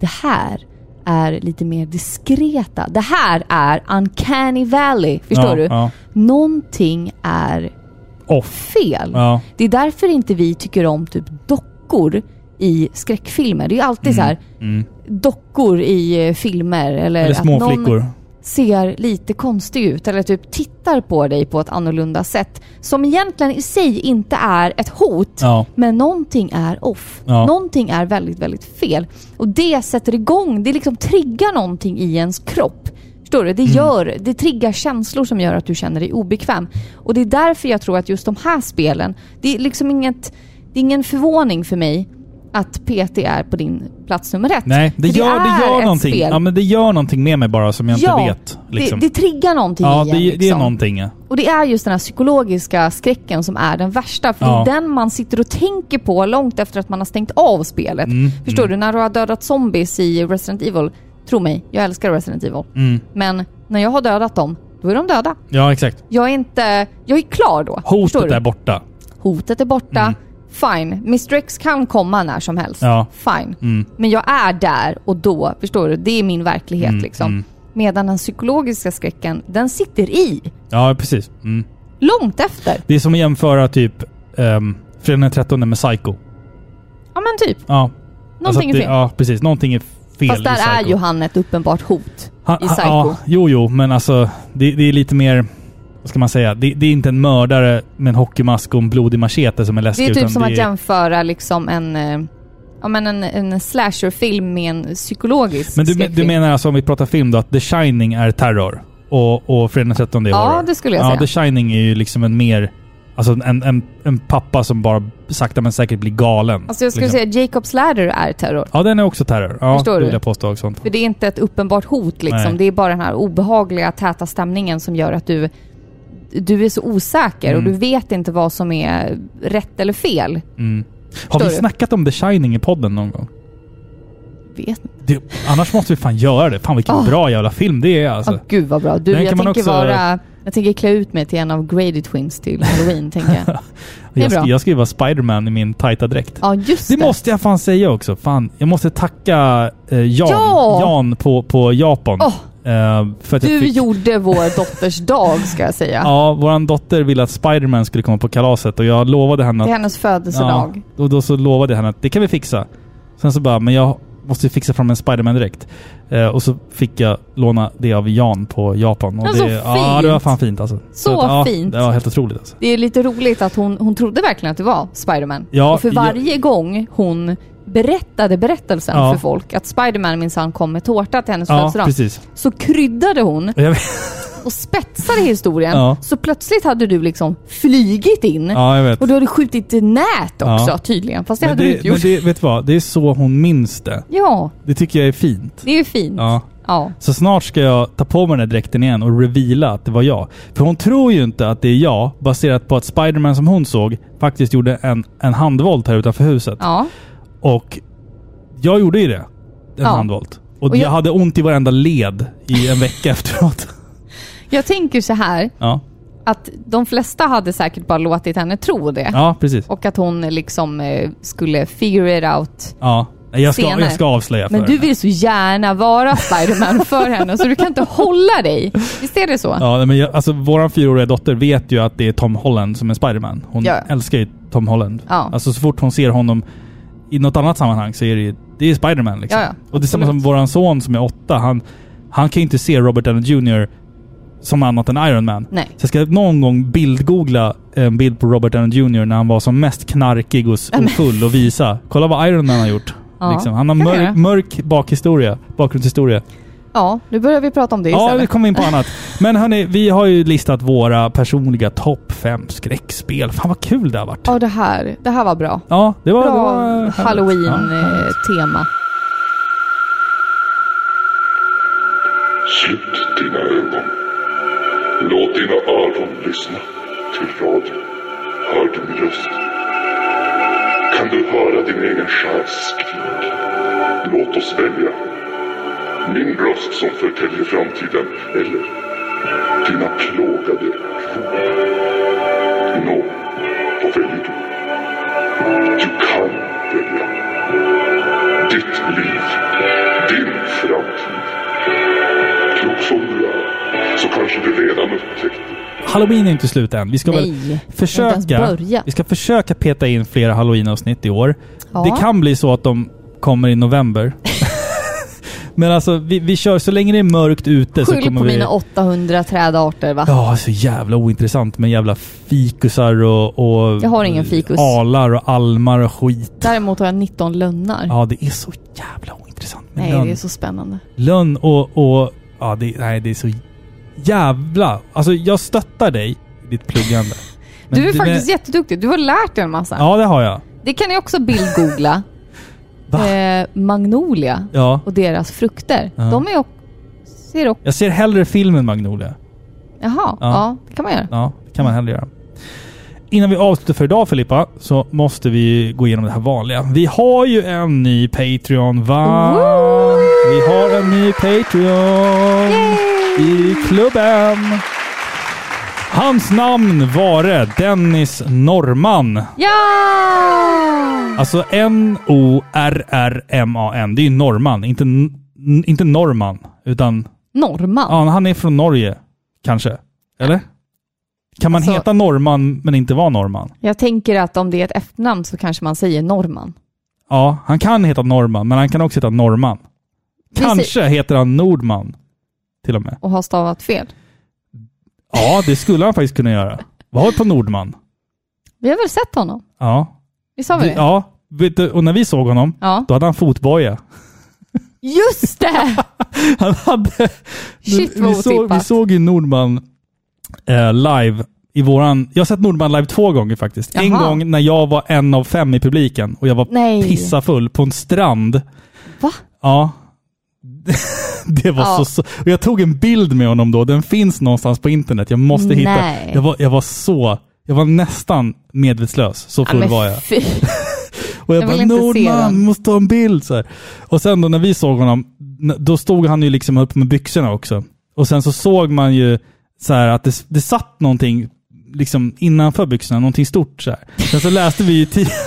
S2: Det här är lite mer diskreta. Det här är uncanny valley. Förstår
S1: Ja,
S2: du?
S1: ja.
S2: Någonting är
S1: Off.
S2: fel.
S1: Ja.
S2: Det är därför inte vi tycker om typ dockor i skräckfilmer. Det är ju alltid så här
S1: Mm.
S2: dockor i eh, filmer eller,
S1: Eller små
S2: att någon
S1: flickor.
S2: ser lite konstig ut eller typ tittar på dig på ett annorlunda sätt som egentligen i sig inte är ett hot
S1: Ja.
S2: men någonting är off.
S1: Ja.
S2: Någonting är väldigt, väldigt fel. Och det sätter igång, det liksom triggar någonting i ens kropp. Förstår du? Det,
S1: Mm.
S2: gör, det triggar känslor som gör att du känner dig obekväm. Och det är därför jag tror att just de här spelen, det är liksom inget, det är ingen förvåning för mig att PT är på din plats nummer ett.
S1: Nej, det
S2: För
S1: gör, det
S2: är
S1: gör
S2: ett
S1: någonting.
S2: spel.
S1: Ja, men det gör någonting med mig bara som jag
S2: Ja,
S1: inte vet. Liksom.
S2: det, det triggar någonting
S1: ja,
S2: i
S1: det,
S2: en,
S1: det är
S2: liksom.
S1: någonting. ja.
S2: Och det är just den här psykologiska skräcken som är den värsta. För
S1: Ja.
S2: det är den man sitter och tänker på långt efter att man har stängt av spelet.
S1: Mm,
S2: Förstår du? När du har dödat zombies i Resident Evil. Tro mig, jag älskar Resident Evil.
S1: Mm.
S2: Men när jag har dödat dem, då är de döda.
S1: Ja, exakt.
S2: Jag är inte... Jag är klar då. förstår
S1: Hotet
S2: du?
S1: är borta.
S2: Hotet är borta. Fine. Mr X kan komma när som helst.
S1: Ja.
S2: Fine.
S1: Mm.
S2: Men jag är där och då, förstår du? Det är min verklighet
S1: Mm,
S2: liksom.
S1: mm.
S2: Medan den psykologiska skräcken, den sitter i.
S1: Ja, precis. Mm.
S2: Långt efter.
S1: Det är som att jämföra typ um, Fredag den 13 med Psycho.
S2: Ja men typ.
S1: Ja. alltså
S2: Någonting
S1: att
S2: är
S1: det-
S2: fel.
S1: Ja, precis. Någonting är fel
S2: Fast
S1: i
S2: där
S1: Psycho.
S2: är ju han ett uppenbart hot i Psycho.
S1: Ja, jo, jo, men alltså det, det är lite mer... Vad ska man säga? Det, det är inte en mördare med en hockeymask och en blodig machete som är läskig.
S2: det är
S1: utan
S2: typ som
S1: är-
S2: att jämföra liksom en, eh, ja, men en, en slasherfilm med en psykologisk
S1: Men du, du
S2: skräckfilm.
S1: menar alltså om vi pratar film då, att The Shining är terror? Och, och Fredag den 13 är
S2: Ja,
S1: horror?
S2: det skulle jag säga.
S1: Ja, The Shining är ju liksom en mer... Alltså en, en, en pappa som bara sakta men säkert blir galen.
S2: Alltså jag skulle
S1: liksom.
S2: säga Jacob's Ladder är terror.
S1: Ja, den är också terror. Ja,
S2: Förstår
S1: det
S2: du?
S1: vill jag påstå också.
S2: För det är inte ett uppenbart hot liksom.
S1: Nej.
S2: Det är bara den här obehagliga täta stämningen som gör att du, du är så osäker och
S1: Mm.
S2: du vet inte vad som är rätt eller fel.
S1: Mm. Har
S2: Förstår
S1: vi
S2: du?
S1: snackat om The Shining i podden någon gång?
S2: Vet inte.
S1: Det, annars måste vi fan göra det. Fan vilken
S2: Ah.
S1: bra jävla film det är alltså.
S2: Åh, gud vad bra. Du,
S1: Den
S2: jag
S1: kan man
S2: tänker
S1: också-
S2: vara... Jag tänker klä ut mig till en av Grady Twins till Halloween, tänker jag. Det är
S1: jag,
S2: bra.
S1: sk- jag ska ju vara Spiderman i min tajta dräkt.
S2: Ja, just
S1: Det
S2: det.
S1: måste jag fan säga också. Fan, jag måste tacka eh, Jan,
S2: Ja!
S1: Jan på, på Japan.
S2: Åh.
S1: Eh, för att jag
S2: Du
S1: fick,
S2: gjorde vår dotters dag, ska jag säga.
S1: Ja, vår dotter ville att Spiderman skulle komma på kalaset och jag lovade henne
S2: Det
S1: att...
S2: är hennes födelsedag.
S1: Ja, och då så lovade jag henne att det kan vi fixa. Sen så bara, men jag måste ju fixa fram en Spiderman direkt. Eh, och så fick jag låna det av Jan på Japan. Och
S2: Ja,
S1: det,
S2: så
S1: Ja,
S2: fint.
S1: det var fan fint alltså.
S2: Så
S1: att, ja,
S2: fint.
S1: Det var helt otroligt alltså.
S2: Det är lite roligt att hon, hon trodde verkligen att det var Spiderman.
S1: Ja,
S2: och för varje gång hon berättade berättelsen
S1: Ja.
S2: för folk att Spiderman minsann kom med tårta till hennes
S1: Ja,
S2: födelsedag.
S1: precis.
S2: Så kryddade hon
S1: Jag vet.
S2: och spetsade historien.
S1: Ja.
S2: Så plötsligt hade du liksom flygit in.
S1: Ja, jag vet.
S2: Och du hade skjutit nät också
S1: Ja.
S2: tydligen. Fast det
S1: men
S2: hade du
S1: det,
S2: inte gjort.
S1: men det, vet du vad? Det är så hon minns det.
S2: Ja,
S1: Det tycker jag är fint.
S2: det är ju fint.
S1: Ja.
S2: Ja.
S1: Så snart ska jag ta på mig den här dräkten igen och reveala att det var jag. För hon tror ju inte att det är jag baserat på att Spiderman som hon såg faktiskt gjorde en, en handvolt här utanför huset.
S2: Ja.
S1: Och jag gjorde ju det. En
S2: Ja.
S1: handvolt. Och,
S2: Och
S1: jag...
S2: jag-
S1: hade ont i varenda led i en vecka efteråt.
S2: Jag tänker så här
S1: Ja,
S2: att de flesta hade säkert bara låtit henne tro det.
S1: ja precis.
S2: Och att hon liksom eh, skulle figure it out
S1: Ja. Nej, Jag ska,
S2: senare.
S1: jag ska avslöja för
S2: Men du
S1: henne.
S2: vill så gärna vara Spiderman för henne så du kan inte hålla dig. Visst är det så?
S1: Ja, nej, men jag, alltså våran fyraåriga dotter vet ju att det är Tom Holland som är Spiderman. Hon
S2: Ja.
S1: älskar ju Tom Holland.
S2: Ja.
S1: Alltså så fort hon ser honom i något annat sammanhang så är det ju det är Spiderman liksom.
S2: Ja, ja.
S1: Och det är samma som våran son som är åtta. Han, han kan ju inte se Robert Downey Jr. som annat än Iron Man.
S2: Nej.
S1: Så jag ska någon gång bildgoogla en bild på Robert Downey Jr. när han var som mest knarkig och, s- och full och visa. Kolla vad Iron Man har gjort.
S2: Ja,
S1: liksom. Han har
S2: kan jag göra.
S1: mörk, mörk bakhistoria, bakgrundshistoria.
S2: Ja, nu börjar vi prata om det
S1: Ja,
S2: istället.
S1: vi kommer in på annat. Men hörni, vi har ju listat våra personliga topp fem skräckspel. Fan vad kul det har varit.
S2: Ja, det här, det här var bra.
S1: Ja, det var...
S2: Bra
S1: det var
S2: halloween-tema.
S13: Slut dina ögon. Låt dina öron lyssna till radion. Hör du min röst? Kan du höra din egen själs skrik? Låt oss välja. Min röst som förtäljer framtiden eller dina plågade fot. Nå, vad väljer du? Du kan välja. Ditt liv, din framtid. Klok som du är, så kanske du redan upptäckt
S1: Halloween är inte slut än. Vi ska väl
S2: Nej, inte ens
S1: försöka,
S2: börja.
S1: vi ska försöka peta in flera halloween-avsnitt i år.
S2: Ja.
S1: Det kan bli så att de kommer i november. Men alltså, vi, vi kör så länge det är mörkt ute så
S2: Skyll på
S1: kommer vi...
S2: mina 800 trädarter va?
S1: Ja, så jävla ointressant med jävla fikusar och, och...
S2: Jag har ingen fikus.
S1: Alar och almar och skit.
S2: Däremot har jag 19 lönnar.
S1: Ja, det är så jävla ointressant med
S2: Nej,
S1: lönn.
S2: det är så spännande.
S1: Lönn och... och ja, det, nej, det är så jävla... Alltså, jag stöttar dig i ditt pluggande. Men
S2: du är faktiskt
S1: men-
S2: jätteduktig. Du har lärt dig en massa.
S1: Ja, det har jag.
S2: Det kan ni också bildgoogla. eh, magnolia
S1: Ja.
S2: och deras frukter.
S1: Ja.
S2: De är också... Ser också...
S1: Jag ser hellre filmen Magnolia.
S2: Jaha, ja. det kan man göra.
S1: Ja, det kan man hellre göra. Innan vi avslutar för idag Filippa, så måste vi gå igenom det här vanliga. Vi har ju en ny Patreon va? Vi har en ny Patreon i klubben. Hans namn vare Dennis Norman.
S2: Ja!
S1: Alltså N-O-R-R-M-A-N. Det är ju norrman, inte, n- inte norman. Utan
S2: Norman.
S1: Ja, han är från Norge, kanske. Eller? Kan man
S2: Alltså-
S1: heta norrman men inte vara norrman?
S2: Jag tänker att om det är ett efternamn så kanske man säger norman.
S1: Ja, han kan heta norrman, men han kan också heta norrman.
S2: Vi säger-
S1: Kanske heter han Nordman, till och med.
S2: Och har stavat fel.
S1: Ja, det skulle han faktiskt kunna göra. Vad på Nordman?
S2: Vi har väl sett honom?
S1: Ja.
S2: Vi sa väl det?
S1: Ja, vet du, och när vi såg honom,
S2: Ja.
S1: då hade han fotboja.
S2: Just det!
S1: Han hade...
S2: Shit, vad
S1: vi, såg,
S2: otippat.
S1: vi såg ju Nordman eh, live i våran... Jag har sett Nordman live två gånger faktiskt. En
S2: Jaha.
S1: gång när jag var en av fem i publiken och jag var
S2: Nej.
S1: pissafull på en strand.
S2: Va?
S1: Ja. Det var
S2: Ja.
S1: så, så... Och jag tog en bild med honom då. Den finns någonstans på internet. Jag måste
S2: Nej.
S1: hitta... Jag var, jag var så... Jag var nästan medvetslös. Så
S2: Ja,
S1: full
S2: men
S1: var jag.
S2: fy.
S1: Och jag,
S2: Jag vill
S1: bara
S2: inte se
S1: Nordman,
S2: den."
S1: vi måste ta en bild. Så här. Och sen då när vi såg honom, n- då stod han ju liksom upp med byxorna också. Och sen så såg man ju så här att det, det satt någonting liksom innanför byxorna, någonting stort så här. Sen så läste vi ju tid...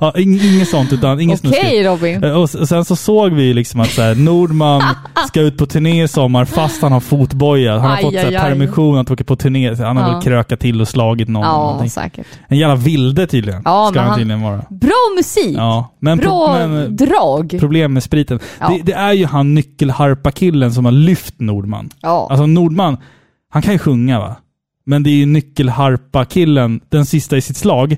S1: Ja, ing- inget sånt utan inget
S2: Okej,
S1: snuskigt.
S2: Robin.
S1: Eh, Och s- och sen så såg vi ju liksom att så här, Nordman ska ut på turné i sommar fast han har fotboja. Han har
S2: Aj,
S1: fått så
S2: aj,
S1: här,
S2: aj.
S1: permission att åka på turné. Så Han har
S2: Ja.
S1: väl krökat till och slagit någon. eller
S2: Ja,
S1: någonting.
S2: säkert.
S1: En jävla vilde tydligen,
S2: Ja,
S1: ska
S2: men
S1: han
S2: han-
S1: tydligen vara.
S2: Bra musik!
S1: Ja, men
S2: Bra
S1: pro- men-
S2: drag!
S1: Problem med spriten.
S2: Ja.
S1: Det, det är ju han nyckelharpa-killen som har lyft Nordman.
S2: Ja.
S1: Alltså Nordman, han kan ju sjunga va? Men det är ju nyckelharpa-killen, den sista i sitt slag,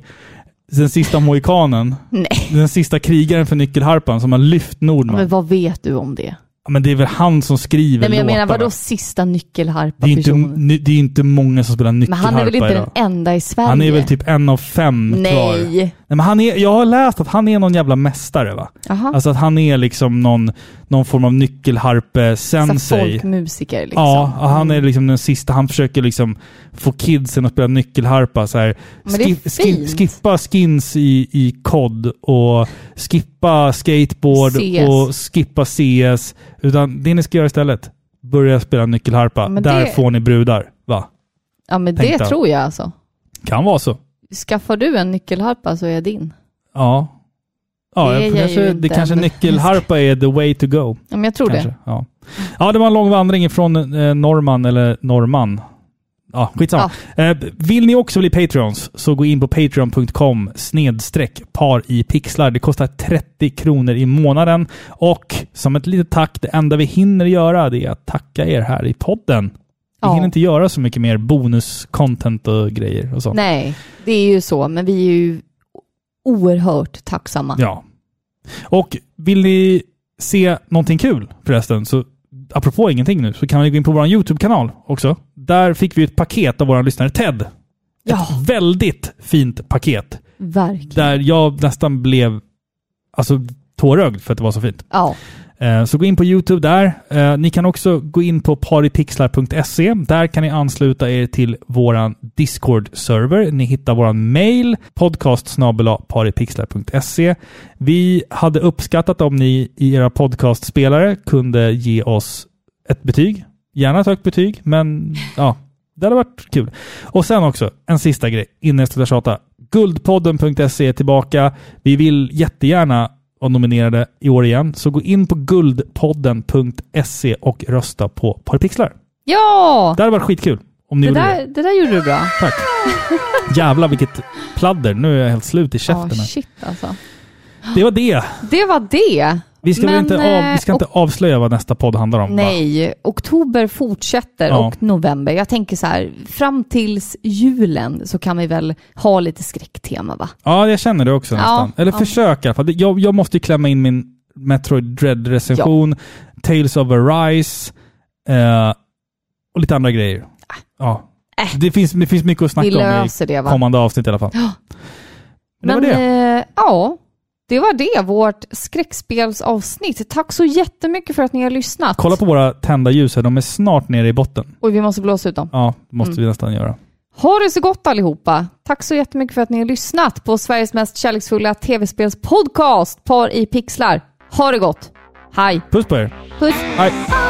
S1: den sista mohikanen,
S2: Nej.
S1: den sista krigaren för nyckelharpan som har lyft Nordman.
S2: Men
S1: Men,
S2: vad vet du om det?
S1: men det är väl han som skriver
S2: Nej, men jag menar
S1: låtarna.
S2: vadå sista
S1: det är ju inte,
S2: nyckelharpa-personen?
S1: det är ju inte många som spelar
S2: Men
S1: nyckelharpa
S2: han är väl inte
S1: idag.
S2: den enda i Sverige?
S1: Han är väl typ en av fem
S2: Nej.
S1: kvar. Nej. men han är, jag har läst att han är någon jävla mästare va?
S2: Jaha.
S1: Alltså att han är liksom någon, någon form av
S2: Så här
S1: nyckelharpe-sensei.
S2: Alltså, folkmusiker liksom.
S1: Ja, och han är liksom den sista. Han försöker liksom få kidsen att spela nyckelharpa. Så här.
S2: Men det är
S1: Skip- skip-
S2: fint.
S1: skippa skins i, i COD och skippa skateboard
S2: CS.
S1: och skippa CS. Utan det ni ska göra istället, börja spela nyckelharpa.
S2: Men
S1: Där
S2: det-
S1: får ni brudar. Va?
S2: Ja men det
S1: Tänkte jag.
S2: tror jag alltså.
S1: Kan vara så.
S2: Skaffar du en nyckelharpa så är jag din.
S1: Ja. Ja,
S2: Det är
S1: det
S2: jag
S1: kanske,
S2: ju
S1: det
S2: inte,
S1: kanske
S2: men-
S1: nyckelharpa är the way to go.
S2: Ja, men jag tror
S1: kanske.
S2: det.
S1: Ja. ja, det var en lång vandring ifrån eh, Norman eller Norman. Ja, skitsamma. Eh, vill ni också bli Patreons så gå in på patreon.com snedstreck par i pixlar. Det kostar 30 kronor i månaden och som ett litet tack, det enda vi hinner göra det är att tacka er här i podden. Vi
S2: Ja.
S1: hinner inte göra så mycket mer bonus-content och grejer och sånt.
S2: Nej, det är ju så, men vi är ju oerhört tacksamma.
S1: Ja. Och vill ni se någonting kul förresten, så apropå ingenting nu, så kan ni gå in på vår YouTube-kanal också. Där fick vi ett paket av vår lyssnare Ted.
S2: Ja.
S1: Ett väldigt fint paket.
S2: Verkligen.
S1: Där jag nästan blev alltså, tårögd för att det var så fint.
S2: Ja.
S1: Eh, Så gå in på YouTube där. Eh, Ni kan också gå in på paripixlar.se. Där kan ni ansluta er till våran Discord-server. Ni hittar vår mail, podcast paripixlar.se. Vi hade uppskattat om ni i era podcastspelare kunde ge oss ett betyg. Gärna ett högt betyg, men ja, det hade varit kul. Och sen också, en sista grej innan jag slutar tjata. Guldpodden.se är tillbaka. Vi vill jättegärna vara nominerade i år igen, så gå in på guldpodden.se och rösta på Paripixlar.
S2: Ja!
S1: Det hade varit skitkul om ni
S2: Det
S1: gjorde det.
S2: där, det där gjorde du bra.
S1: Tack. Jävlar vilket pladder. Nu är jag helt slut i
S2: Ja,
S1: käften. här.
S2: shit alltså.
S1: det var det.
S2: Det var det.
S1: Vi ska, väl
S2: Men,
S1: inte, av,
S2: eh,
S1: vi ska inte avslöja vad nästa podd handlar om? va?
S2: Nej, oktober fortsätter
S1: Ja.
S2: och november. Jag tänker så här, fram tills julen så kan vi väl ha lite skräcktema va?
S1: Ja, jag känner det också
S2: Ja,
S1: nästan. Eller
S2: ja.
S1: försök i alla fall. Det- Jag, jag måste ju klämma in min Metroid Dread-recension, Tales of Arise eh, och lite andra grejer. Ja. Det, finns, det finns mycket att
S2: Ah. Äh. Vi
S1: snacka om
S2: löser
S1: i
S2: det, va?
S1: kommande avsnitt i alla fall. Men det var
S2: eh, ja, det var det. Vårt skräckspelsavsnitt. Tack så jättemycket för att ni har lyssnat.
S1: Kolla på våra tända ljus här, de är snart nere i botten.
S2: Och vi måste blåsa ut dem.
S1: Ja, det måste
S2: Mm.
S1: vi nästan göra.
S2: Ha det så gott allihopa. Tack så jättemycket för att ni har lyssnat på Sveriges mest kärleksfulla tv-spelspodcast Par i pixlar. Ha det gott. Hej.
S1: Puss på er!
S2: Puss.
S1: Hej!